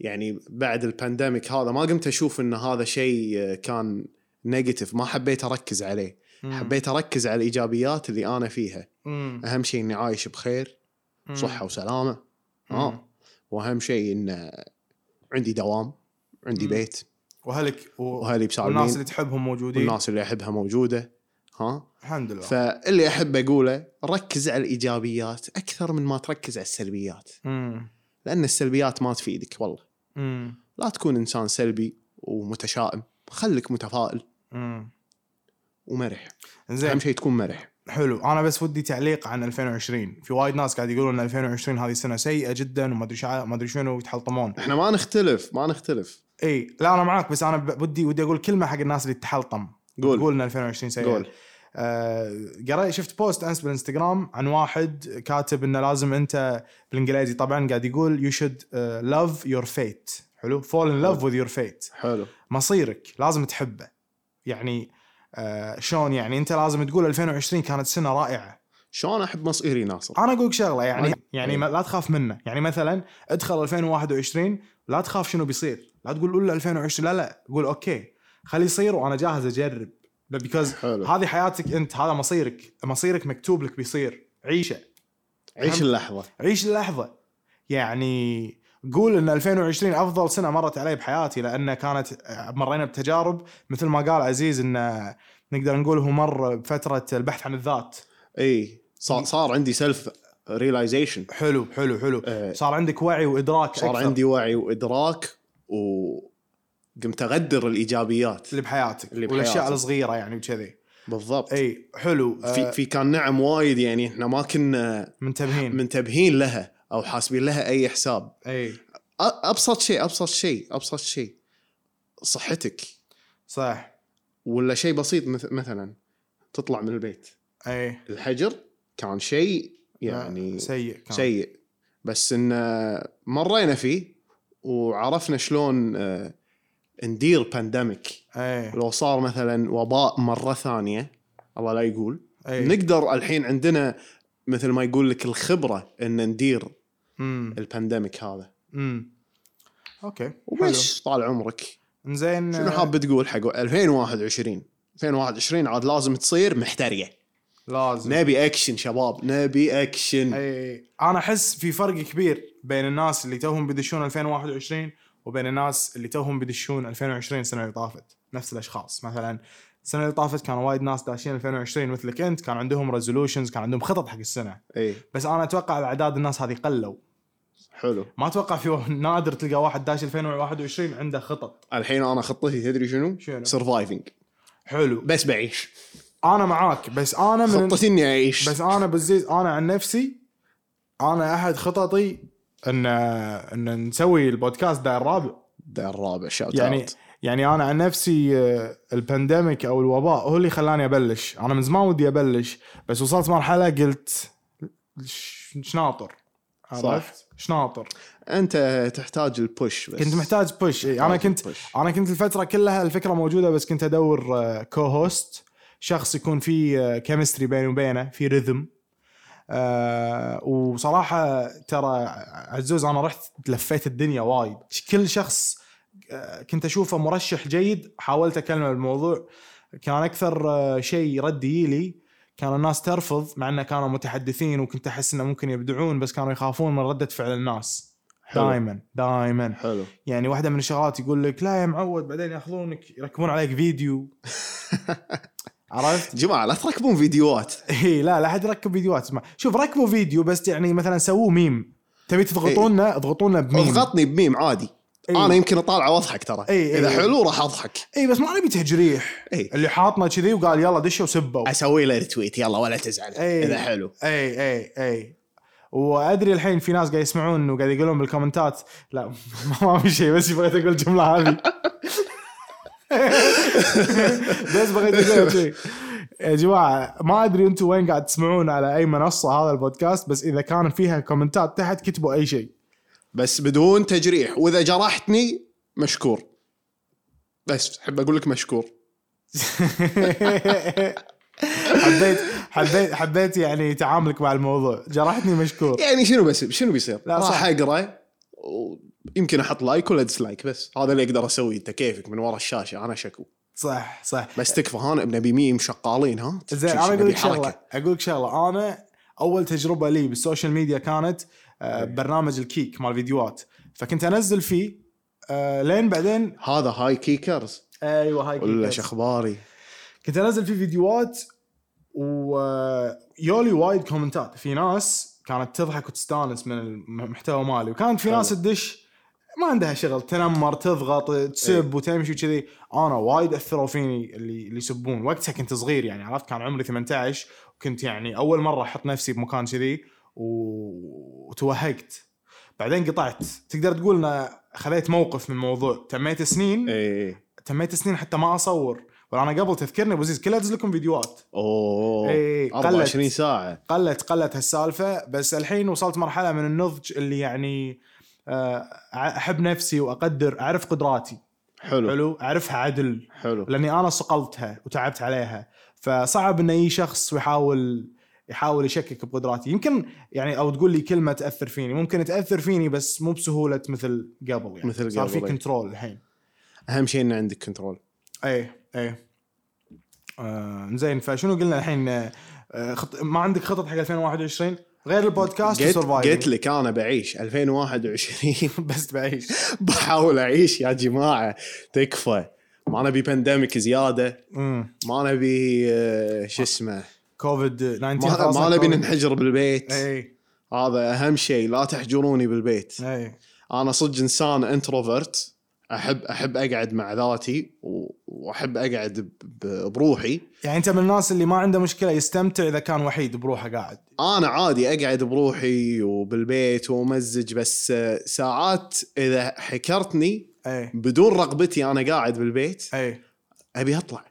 Speaker 1: يعني بعد البانديميك هذا ما قمت اشوف ان هذا شيء آه، كان نيجاتيف ما حبيت اركز عليه حبيت اركز على الايجابيات اللي انا فيها
Speaker 2: مم.
Speaker 1: اهم شيء اني عايش بخير
Speaker 2: مم.
Speaker 1: صحه وسلامه
Speaker 2: مم.
Speaker 1: اه واهم شيء ان عندي دوام عندي
Speaker 2: مم.
Speaker 1: بيت
Speaker 2: واهلك و...
Speaker 1: واهلي
Speaker 2: والناس
Speaker 1: مساعدين
Speaker 2: اللي تحبهم موجودين
Speaker 1: والناس اللي احبها موجوده ها
Speaker 2: الحمد لله
Speaker 1: فاللي احب اقوله ركز على الايجابيات اكثر من ما تركز على السلبيات
Speaker 2: مم.
Speaker 1: لان السلبيات ما تفيدك والله
Speaker 2: مم.
Speaker 1: لا تكون انسان سلبي ومتشائم خليك متفائل
Speaker 2: مم.
Speaker 1: ومرح
Speaker 2: زين
Speaker 1: اهم شيء تكون مرح
Speaker 2: حلو انا بس ودي تعليق عن 2020 في وايد ناس قاعد يقولون ان 2020 هذه سنه سيئه جدا وما ادري شع- ما ادري شنو ويتحلطمون
Speaker 1: احنا ما نختلف ما نختلف
Speaker 2: اي لا انا معاك بس انا ب- ودي ودي اقول كلمه حق الناس اللي تحلطم
Speaker 1: قول
Speaker 2: تقول ان 2020 سيئه
Speaker 1: قول
Speaker 2: آه، قريت شفت بوست امس بالانستغرام عن واحد كاتب انه لازم انت بالانجليزي طبعا قاعد يقول you should uh, love your fate حلو fall in love with your fate
Speaker 1: حلو
Speaker 2: مصيرك لازم تحبه يعني آه شلون يعني انت لازم تقول 2020 كانت سنه رائعه
Speaker 1: شلون احب مصيري ناصر
Speaker 2: انا اقول لك شغله يعني
Speaker 1: أنا-
Speaker 2: يعني
Speaker 1: إيه.
Speaker 2: ما لا تخاف منه يعني مثلا ادخل 2021 لا تخاف شنو بيصير لا تقول قول له 2020 لا لا قول اوكي خلي يصير وانا جاهز اجرب بيكوز
Speaker 1: حلو
Speaker 2: هذه حياتك انت هذا مصيرك مصيرك مكتوب لك بيصير عيشه
Speaker 1: عيش
Speaker 2: أهم-
Speaker 1: اللحظه
Speaker 2: عيش اللحظه يعني قول ان 2020 افضل سنه مرت علي بحياتي لان كانت مرينا بتجارب مثل ما قال عزيز ان نقدر نقول هو مر بفتره البحث عن الذات
Speaker 1: اي صار صار عندي آه. سيلف ريلايزيشن
Speaker 2: حلو حلو حلو صار عندك وعي وادراك
Speaker 1: صار
Speaker 2: أكثر
Speaker 1: عندي وعي وادراك وقمت اقدر الايجابيات
Speaker 2: اللي بحياتك
Speaker 1: اللي
Speaker 2: والاشياء
Speaker 1: بحياتك.
Speaker 2: الصغيره يعني وكذي
Speaker 1: بالضبط
Speaker 2: اي حلو آه،
Speaker 1: في في كان نعم وايد يعني احنا ما كنا
Speaker 2: منتبهين
Speaker 1: منتبهين لها او حاسبين لها اي حساب
Speaker 2: اي
Speaker 1: أ- ابسط شيء ابسط شيء ابسط شيء صحتك
Speaker 2: صح
Speaker 1: ولا شيء بسيط مث- مثلا تطلع من البيت
Speaker 2: اي
Speaker 1: الحجر كان شيء يعني
Speaker 2: سيء آه، كان.
Speaker 1: سيء بس ان آه، مرينا فيه وعرفنا شلون آه، ندير بانديميك
Speaker 2: اي
Speaker 1: لو صار مثلا وباء مره ثانيه الله لا يقول
Speaker 2: اي
Speaker 1: نقدر الحين عندنا مثل ما يقول لك الخبره ان ندير
Speaker 2: امم
Speaker 1: البانديميك هذا
Speaker 2: امم اوكي حلو
Speaker 1: وبس طال عمرك
Speaker 2: انزين
Speaker 1: شنو
Speaker 2: آه،
Speaker 1: حاب تقول حق 2021 2021 عاد لازم تصير محتريه
Speaker 2: آه، لازم
Speaker 1: نبي اكشن شباب نبي اكشن
Speaker 2: اي انا احس إيه، في فرق كبير بين الناس اللي توهم بيدشون 2021 وبين الناس اللي توهم بيدشون 2020 السنه اللي طافت نفس الاشخاص مثلا السنه اللي طافت كان وايد ناس داشين 2020 مثلك انت كان عندهم ريزولوشنز كان عندهم خطط حق السنه
Speaker 1: اي
Speaker 2: بس انا اتوقع اعداد الناس هذه قلوا
Speaker 1: حلو
Speaker 2: ما اتوقع في واحد- نادر تلقى واحد داش 2021 عنده خطط
Speaker 1: الحين انا خطتي تدري شنو؟
Speaker 2: شنو؟
Speaker 1: سرفايفنج
Speaker 2: حلو
Speaker 1: بس بعيش
Speaker 2: انا معاك بس انا من
Speaker 1: خطتي اني اعيش
Speaker 2: بس انا بالزيز انا عن نفسي انا احد خططي ان ان نسوي البودكاست ده الرابع
Speaker 1: ده الرابع شاوت
Speaker 2: يعني
Speaker 1: اوت
Speaker 2: يعني انا عن نفسي آه، البانديميك او الوباء هو اللي خلاني ابلش انا من زمان ودي ابلش بس وصلت مرحله قلت ش- شناطر عرفت شناطر
Speaker 1: انت تحتاج البوش بس
Speaker 2: كنت محتاج بوش إيه. انا كنت
Speaker 1: push.
Speaker 2: انا كنت الفتره كلها الفكره موجوده بس كنت ادور آه، كو هوست شخص يكون في كيمستري بيني وبينه في ريذم آه وصراحه ترى عزوز انا رحت لفيت الدنيا وايد كل شخص آه، كنت اشوفه مرشح جيد حاولت اكلمه بالموضوع كان اكثر آه، شيء رد لي كان الناس ترفض مع انه كانوا متحدثين وكنت احس انه ممكن يبدعون بس كانوا يخافون من رده فعل الناس
Speaker 1: حلو.
Speaker 2: دائما دائما
Speaker 1: حلو
Speaker 2: يعني واحده من الشغلات يقول لك لا يا معود بعدين ياخذونك يركبون عليك فيديو عرفت؟
Speaker 1: جماعه لا تركبون فيديوهات
Speaker 2: اي لا لا احد يركب فيديوهات اسمع شوف ركبوا فيديو بس يعني مثلا سووه ميم تبي تضغطونا اضغطونا بميم
Speaker 1: اضغطني بميم عادي
Speaker 2: إيه.
Speaker 1: انا يمكن اطالعه واضحك ترى
Speaker 2: إيه، إيه،
Speaker 1: اذا
Speaker 2: إيه.
Speaker 1: حلو راح اضحك
Speaker 2: اي بس ما نبي تجريح
Speaker 1: اي
Speaker 2: اللي حاطنا كذي وقال يلا دشوا وسبوا
Speaker 1: اسوي له ريتويت يلا ولا تزعل
Speaker 2: إيه.
Speaker 1: اذا حلو
Speaker 2: اي اي اي وادري الحين في ناس قاعد يسمعون وقاعد يقولون بالكومنتات لا ما في شيء بس بغيت اقول الجمله هذه بس بغيت اقول شيء يا جماعه ما ادري انتم وين قاعد تسمعون على اي منصه هذا البودكاست بس اذا كان فيها كومنتات تحت كتبوا اي شيء
Speaker 1: بس بدون تجريح واذا جرحتني مشكور بس احب اقول لك مشكور
Speaker 2: حبيت حبيت حبيت يعني تعاملك مع الموضوع جرحتني مشكور
Speaker 1: يعني شنو بس شنو بيصير؟
Speaker 2: لا،
Speaker 1: راح
Speaker 2: صح.
Speaker 1: اقرا يمكن احط لايك ولا ديسلايك بس هذا اللي اقدر اسويه انت كيفك من ورا الشاشه انا شكو
Speaker 2: صح صح
Speaker 1: بس تكفى هان نبي ميم شقالين ها
Speaker 2: زين
Speaker 1: شو
Speaker 2: انا اقول لك
Speaker 1: نبي حركة.
Speaker 2: شغله اقول لك شغله انا اول تجربه لي بالسوشيال ميديا كانت
Speaker 1: إيه.
Speaker 2: آه، برنامج الكيك مال فيديوهات فكنت انزل فيه آه، لين بعدين
Speaker 1: هذا هاي كيكرز
Speaker 2: ايوه هاي
Speaker 1: ولا
Speaker 2: كيك.
Speaker 1: شو اخباري؟
Speaker 2: كنت انزل فيه فيديوهات ويولي وايد كومنتات في ناس كانت تضحك وتستانس من المحتوى مالي وكانت في ناس تدش ما عندها شغل تنمر تضغط تسب وتمشي وكذي انا وايد اثروا فيني اللي اللي يسبون وقتها كنت صغير يعني عرفت كان عمري 18 وكنت يعني اول مره احط نفسي بمكان كذي و- وتوهقت بعدين قطعت تقدر تقول ان خذيت موقف من موضوع تميت سنين
Speaker 1: ايه
Speaker 2: تميت سنين حتى ما اصور ولا انا قبل تذكرني ابو عزيز كلها ادز لكم فيديوهات
Speaker 1: اوه
Speaker 2: إيه،
Speaker 1: 24
Speaker 2: قلت.
Speaker 1: ساعه
Speaker 2: قلت قلت هالسالفه بس الحين وصلت مرحله من النضج اللي يعني آه، احب نفسي واقدر اعرف قدراتي
Speaker 1: حلو حلو,
Speaker 2: حلو اعرفها عدل
Speaker 1: حلو.
Speaker 2: لاني انا صقلتها وتعبت عليها فصعب ان اي شخص يحاول يحاول يشكك بقدراتي يمكن يعني او تقول لي كلمه تاثر فيني ممكن تاثر فيني بس مو بسهوله مثل قبل يعني
Speaker 1: مثل
Speaker 2: صار في
Speaker 1: قبل، إيه.
Speaker 2: كنترول الحين
Speaker 1: اهم شيء ان عندك كنترول
Speaker 2: ايه ايه آه زين فشنو قلنا الحين آه خط... ما عندك خطط حق 2021 غير البودكاست
Speaker 1: قلت
Speaker 2: وسرفايفنج
Speaker 1: قلت لك انا بعيش 2021
Speaker 2: بس بعيش
Speaker 1: بحاول اعيش يا جماعه تكفى ما نبي بانديميك زياده
Speaker 2: أمم.
Speaker 1: ما نبي آه، شو اسمه
Speaker 2: كوفيد 19
Speaker 1: ما,
Speaker 2: خلاص
Speaker 1: ما نبي
Speaker 2: كوفيد.
Speaker 1: ننحجر بالبيت
Speaker 2: ايه
Speaker 1: هذا اهم شيء لا تحجروني بالبيت
Speaker 2: ايه
Speaker 1: انا صدق انسان انتروفرت احب احب اقعد مع ذاتي و- واحب اقعد ب- ب- بروحي
Speaker 2: يعني انت من الناس اللي ما عنده مشكله يستمتع اذا كان وحيد بروحه قاعد
Speaker 1: انا عادي اقعد بروحي وبالبيت وامزج بس آه، ساعات اذا حكرتني
Speaker 2: ايه
Speaker 1: بدون رغبتي انا قاعد بالبيت
Speaker 2: ايه
Speaker 1: ابي اطلع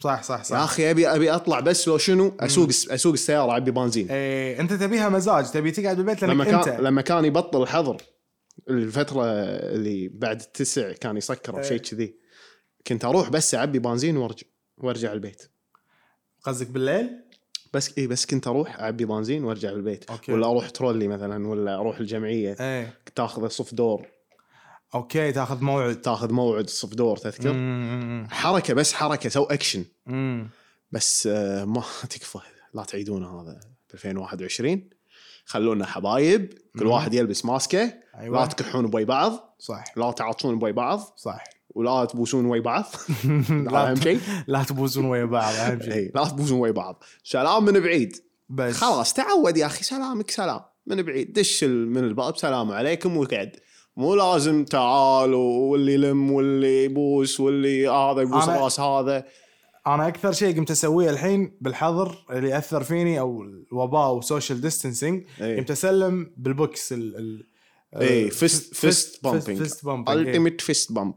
Speaker 2: صح صح صح
Speaker 1: يا اخي ابي ابي اطلع بس لو شنو اسوق اسوق السياره اعبي بنزين
Speaker 2: ايه انت تبيها مزاج تبي تقعد بالبيت لانك
Speaker 1: لما
Speaker 2: انت
Speaker 1: كان لما كان يبطل الحظر الفتره اللي بعد التسع كان يسكر او
Speaker 2: إيه.
Speaker 1: شيء كذي كنت اروح بس اعبي بنزين وارجع وارجع البيت
Speaker 2: قصدك بالليل؟
Speaker 1: بس اي بس كنت اروح اعبي بنزين وارجع بالبيت
Speaker 2: أوكي.
Speaker 1: أوكي. ولا اروح ترولي مثلا ولا اروح الجمعيه
Speaker 2: ايه
Speaker 1: تاخذ صف دور
Speaker 2: اوكي تاخذ موعد
Speaker 1: تاخذ موعد صف دور تذكر مم.
Speaker 2: امم
Speaker 1: حركه بس حركه سو اكشن
Speaker 2: امم
Speaker 1: بس آه، ما تكفى لا تعيدون هذا 2021 خلونا حبايب كل
Speaker 2: مم.
Speaker 1: واحد يلبس ماسكه
Speaker 2: ايوه
Speaker 1: لا تكحون بوي بعض
Speaker 2: صح
Speaker 1: لا تعطون بوي بعض
Speaker 2: صح
Speaker 1: ولا تبوسون وي بعض هذا اهم
Speaker 2: لا
Speaker 1: شيء
Speaker 2: لا تبوسون ويا بعض اهم شيء
Speaker 1: إي، لا تبوسون وي بعض سلام من بعيد
Speaker 2: بس
Speaker 1: خلاص تعود يا اخي سلامك سلام من بعيد دش ال- من الباب سلام عليكم وقعد مو لازم تعال واللي يلم واللي يبوس واللي هذا يبوس
Speaker 2: أنا-
Speaker 1: راس هذا
Speaker 2: انا اكثر شيء قمت اسويه الحين بالحظر اللي اثر فيني او الوباء وسوشيال ديستنسينج
Speaker 1: اي
Speaker 2: قمت اسلم بالبوكس ال ال آه،
Speaker 1: إيه، fist- fist bumping.
Speaker 2: فيست بامبينج
Speaker 1: التيميت فيست بامب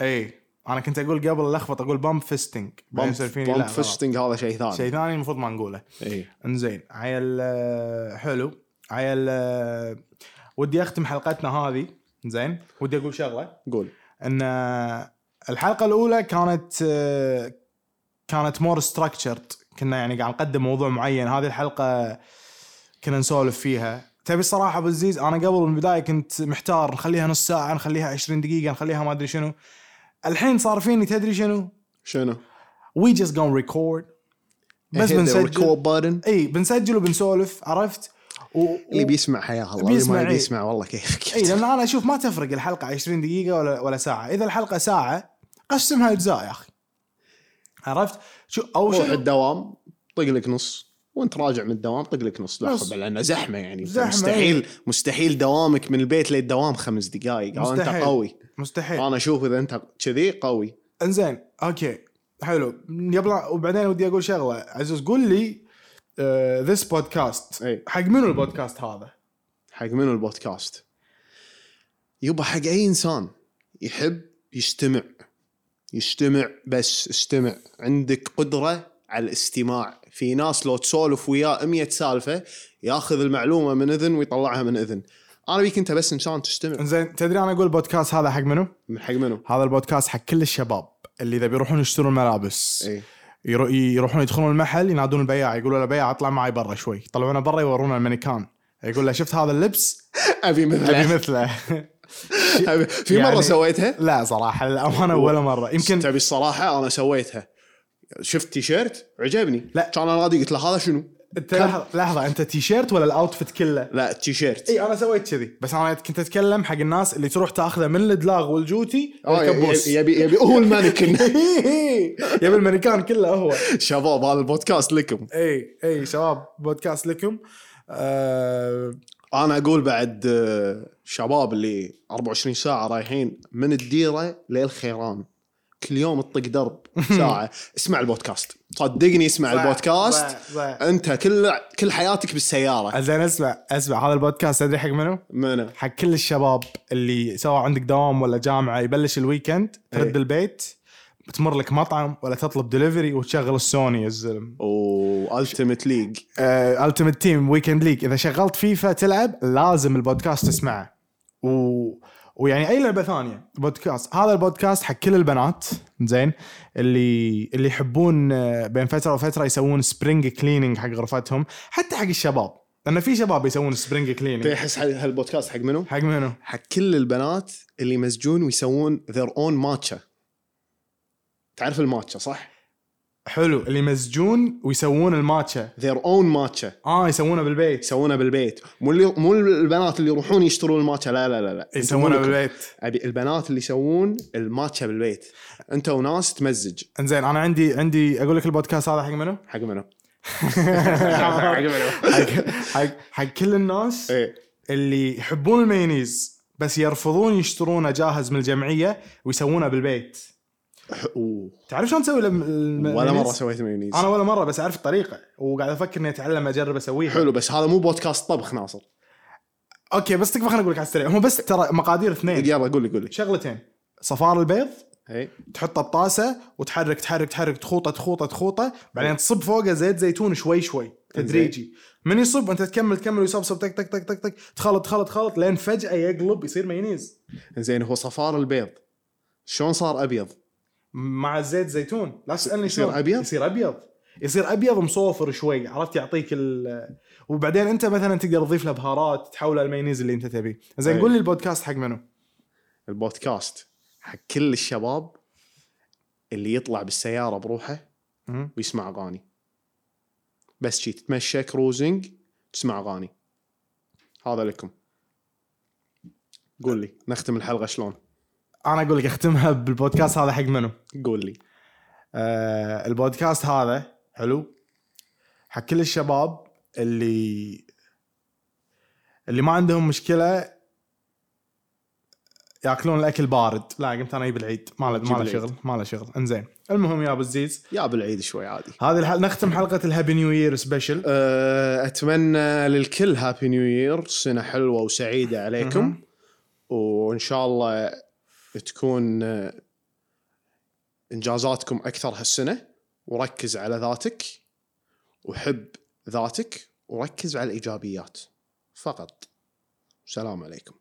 Speaker 2: اي انا إيه. كنت اقول قبل الخبط اقول بامب فيستنج
Speaker 1: بامب بامب فيستنج هذا شيء ثاني إيه.
Speaker 2: شيء ثاني المفروض ما نقوله
Speaker 1: اي
Speaker 2: انزين عيل آه، حلو عيل آه، ودي اختم حلقتنا هذه زين ودي اقول شغله
Speaker 1: قول
Speaker 2: ان الحلقه الاولى آه، كانت آه، كانت مور ستراكتشرد كنا يعني قاعد نقدم موضوع معين هذه الحلقه كنا نسولف فيها تبي الصراحه ابو عزيز انا قبل من البدايه كنت محتار نخليها نص ساعه نخليها 20 دقيقه نخليها ما ادري شنو الحين صار فيني تدري شنو
Speaker 1: شنو؟
Speaker 2: وي جاست جون ريكورد بس بنسجل
Speaker 1: بارن
Speaker 2: اي بنسجل وبنسولف عرفت و... و-
Speaker 1: اللي بيسمع حياه الله اللي
Speaker 2: بيسمع،
Speaker 1: ما
Speaker 2: إيه.
Speaker 1: بيسمع والله كيفك
Speaker 2: اي لان انا اشوف ما تفرق الحلقه 20 دقيقه ولا ولا ساعه اذا الحلقه ساعه قسمها اجزاء يا اخي عرفت شو او
Speaker 1: روح
Speaker 2: شيء
Speaker 1: الدوام طق لك نص وانت راجع من الدوام طق لك نص
Speaker 2: نص.
Speaker 1: لحظه لانه زحمه يعني
Speaker 2: زحمة، إيه.
Speaker 1: مستحيل مستحيل دوامك من البيت للدوام خمس دقائق او انت
Speaker 2: مستحيل. إيه.
Speaker 1: قوي
Speaker 2: مستحيل
Speaker 1: انا اشوف اذا انت كذي قوي
Speaker 2: انزين اوكي حلو قبل وبعدين ودي اقول شغله عزوز قول لي ذس بودكاست
Speaker 1: اي
Speaker 2: حق منو البودكاست هذا؟
Speaker 1: حق منو البودكاست؟ يبا حق اي انسان يحب يستمع يستمع بس استمع عندك قدره على الاستماع في ناس لو تسولف وياه 100 سالفه ياخذ المعلومه من اذن ويطلعها من اذن انا بيك انت بس انسان تستمع
Speaker 2: انزين تدري انا اقول البودكاست هذا حق منو؟
Speaker 1: من حق منو؟
Speaker 2: هذا البودكاست حق كل الشباب اللي اذا بيروحون يشترون ملابس
Speaker 1: اي
Speaker 2: يرو- يروحون يدخلون المحل ينادون البياع يقولوا له بياع اطلع معي برا شوي يطلعونه برا يورونا المانيكان يقول له شفت هذا اللبس
Speaker 1: ابي مثله
Speaker 2: ابي مثله
Speaker 1: أبي- في
Speaker 2: يعني-
Speaker 1: مره سويتها
Speaker 2: لا صراحه للامانه ولا مره يمكن
Speaker 1: تبي الصراحه انا سويتها شفت تيشيرت عجبني
Speaker 2: لا.
Speaker 1: كان انا نادي قلت له هذا شنو؟
Speaker 2: انت لحظه لحظه انت تيشيرت ولا الاوتفيت كله؟
Speaker 1: لا تيشيرت
Speaker 2: اي انا سويت كذي بس انا كنت اتكلم حق الناس اللي تروح تاخذه من الدلاغ والجوتي
Speaker 1: آه،
Speaker 2: والكبوس
Speaker 1: يبي يبي هو المانكن
Speaker 2: يبي المانيكان كله هو
Speaker 1: شباب هذا البودكاست لكم
Speaker 2: اي اي شباب بودكاست لكم آه
Speaker 1: انا اقول بعد آه، شباب اللي 24 ساعه رايحين من الديره للخيران كل يوم تطق درب ساعه اسمع البودكاست صدقني اسمع
Speaker 2: صح،
Speaker 1: البودكاست
Speaker 2: صح، صح.
Speaker 1: انت كل كل حياتك بالسياره
Speaker 2: زين اسمع اسمع هذا البودكاست تدري حق منو؟
Speaker 1: منو
Speaker 2: حق كل الشباب اللي سواء عندك دوام ولا جامعه يبلش الويكند ترد
Speaker 1: إيه.
Speaker 2: البيت تمر لك مطعم ولا تطلب دليفري وتشغل السوني يا الزلم
Speaker 1: والتيمت ليج
Speaker 2: التيمت تيم ويكند ليج اذا شغلت فيفا تلعب لازم البودكاست تسمعه و... ويعني اي لعبه ثانيه بودكاست هذا البودكاست حق كل البنات زين اللي اللي يحبون آه، بين فتره وفتره يسوون سبرينج كليننج حق غرفتهم حتى حق الشباب لان في شباب يسوون سبرينج كليننج
Speaker 1: تحس هال- هالبودكاست حق منو؟
Speaker 2: حق منو؟
Speaker 1: حق كل البنات اللي مسجون ويسوون ذير اون ماتشا تعرف الماتشا صح؟
Speaker 2: حلو اللي يمزجون ويسوون الماتشا
Speaker 1: ذير اون ماتشا
Speaker 2: اه يسوونه بالبيت
Speaker 1: يسوونه بالبيت مو اللي مو البنات اللي يروحون يشترون الماتشا لا لا لا لا
Speaker 2: يسوونه
Speaker 1: أنتم مو لكم.
Speaker 2: بالبيت
Speaker 1: ابي البنات اللي يسوون الماتشا بالبيت انت وناس تمزج
Speaker 2: انزين انا عندي عندي اقول لك البودكاست هذا حق منو؟
Speaker 1: حق منو؟
Speaker 2: حق
Speaker 1: منو؟
Speaker 2: حق حق كل الناس
Speaker 1: إيه.
Speaker 2: اللي يحبون المايونيز بس يرفضون يشترونه جاهز من الجمعيه ويسوونه بالبيت
Speaker 1: أوه.
Speaker 2: تعرف شلون تسوي الم- الم-
Speaker 1: ولا مره
Speaker 2: المايونيز؟
Speaker 1: سويت مايونيز
Speaker 2: انا ولا مره بس اعرف الطريقه وقاعد افكر اني اتعلم اجرب اسويها
Speaker 1: حلو بس هذا مو بودكاست طبخ ناصر
Speaker 2: اوكي بس تكفى خليني اقول لك على السريع هم بس ترى مقادير اثنين
Speaker 1: يلا قول لي قول لي
Speaker 2: شغلتين صفار البيض
Speaker 1: إيه.
Speaker 2: تحطه بطاسه وتحرك تحرك تحرك تخوطه تخوطه تخوطه بعدين تصب فوقه زيت زيتون شوي شوي تدريجي من يصب انت تكمل تكمل ويصبصب تك تك تك تك تك تخلط تخلط تخلط لين فجاه يقلب يصير مايونيز
Speaker 1: زين هو صفار البيض شلون صار ابيض؟
Speaker 2: مع زيت زيتون لا تسالني
Speaker 1: يصير
Speaker 2: شلون
Speaker 1: أبيض؟
Speaker 2: يصير ابيض يصير ابيض مصوفر شوي عرفت يعطيك ال وبعدين انت مثلا تقدر تضيف له بهارات تحوله المايونيز اللي انت تبيه زين
Speaker 1: أي.
Speaker 2: قول لي البودكاست حق منو
Speaker 1: البودكاست حق كل الشباب اللي يطلع بالسياره بروحه
Speaker 2: مم.
Speaker 1: ويسمع اغاني بس شي تتمشى كروزنج تسمع اغاني هذا لكم قول لي نختم الحلقه شلون
Speaker 2: انا اقول لك اختمها بالبودكاست هذا حق منو
Speaker 1: قول لي
Speaker 2: آه البودكاست هذا حلو حق كل الشباب اللي اللي ما عندهم مشكله ياكلون الاكل بارد لا قمت انا اجيب العيد ما له ما له
Speaker 1: جيب العيد.
Speaker 2: شغل ما له شغل انزين المهم يا ابو الزيز
Speaker 1: يا بالعيد شوي عادي
Speaker 2: هذه الحل... نختم حلقه الهابي نيو يير سبيشل
Speaker 1: أه، اتمنى للكل هابي نيو يير سنه حلوه وسعيده عليكم وان شاء الله تكون أه، انجازاتكم اكثر هالسنه وركز على ذاتك وحب ذاتك وركز على الايجابيات فقط السلام عليكم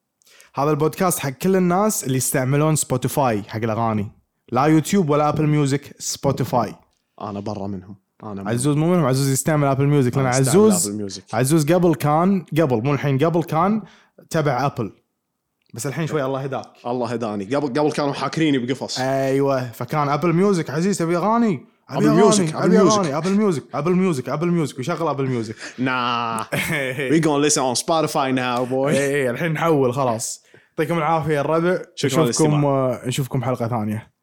Speaker 2: هذا البودكاست حق كل الناس اللي يستعملون سبوتيفاي حق الاغاني لا يوتيوب ولا ابل ميوزك سبوتيفاي
Speaker 1: انا برا منهم انا من-
Speaker 2: عزوز مو منهم عزوز يستعمل ابل ميوزك لان
Speaker 1: أنا أستعمل
Speaker 2: عزوز
Speaker 1: أبل ميوزك
Speaker 2: عزوز قبل كان قبل مو الحين قبل كان تبع ابل بس الحين شوي الله هداك
Speaker 1: الله هداني قبل قبل كانوا حاكريني بقفص أيوة.
Speaker 2: ايوه فكان ابل ميوزك عزيز تبي اغاني
Speaker 1: أبل ميوزك، أبل
Speaker 2: ابل
Speaker 1: ميوزك.
Speaker 2: ميوزك ابل ميوزك ابل ميوزك ابل ميوزك وشغل ابل ميوزك
Speaker 1: nah
Speaker 2: اي
Speaker 1: we gonna listen on Spotify now boy
Speaker 2: إيه، اي الحين نحول خلاص يعطيكم العافيه يا الربع
Speaker 1: شكراً للاستماع.
Speaker 2: نشوفكم آه، نشوفكم حلقه ثانيه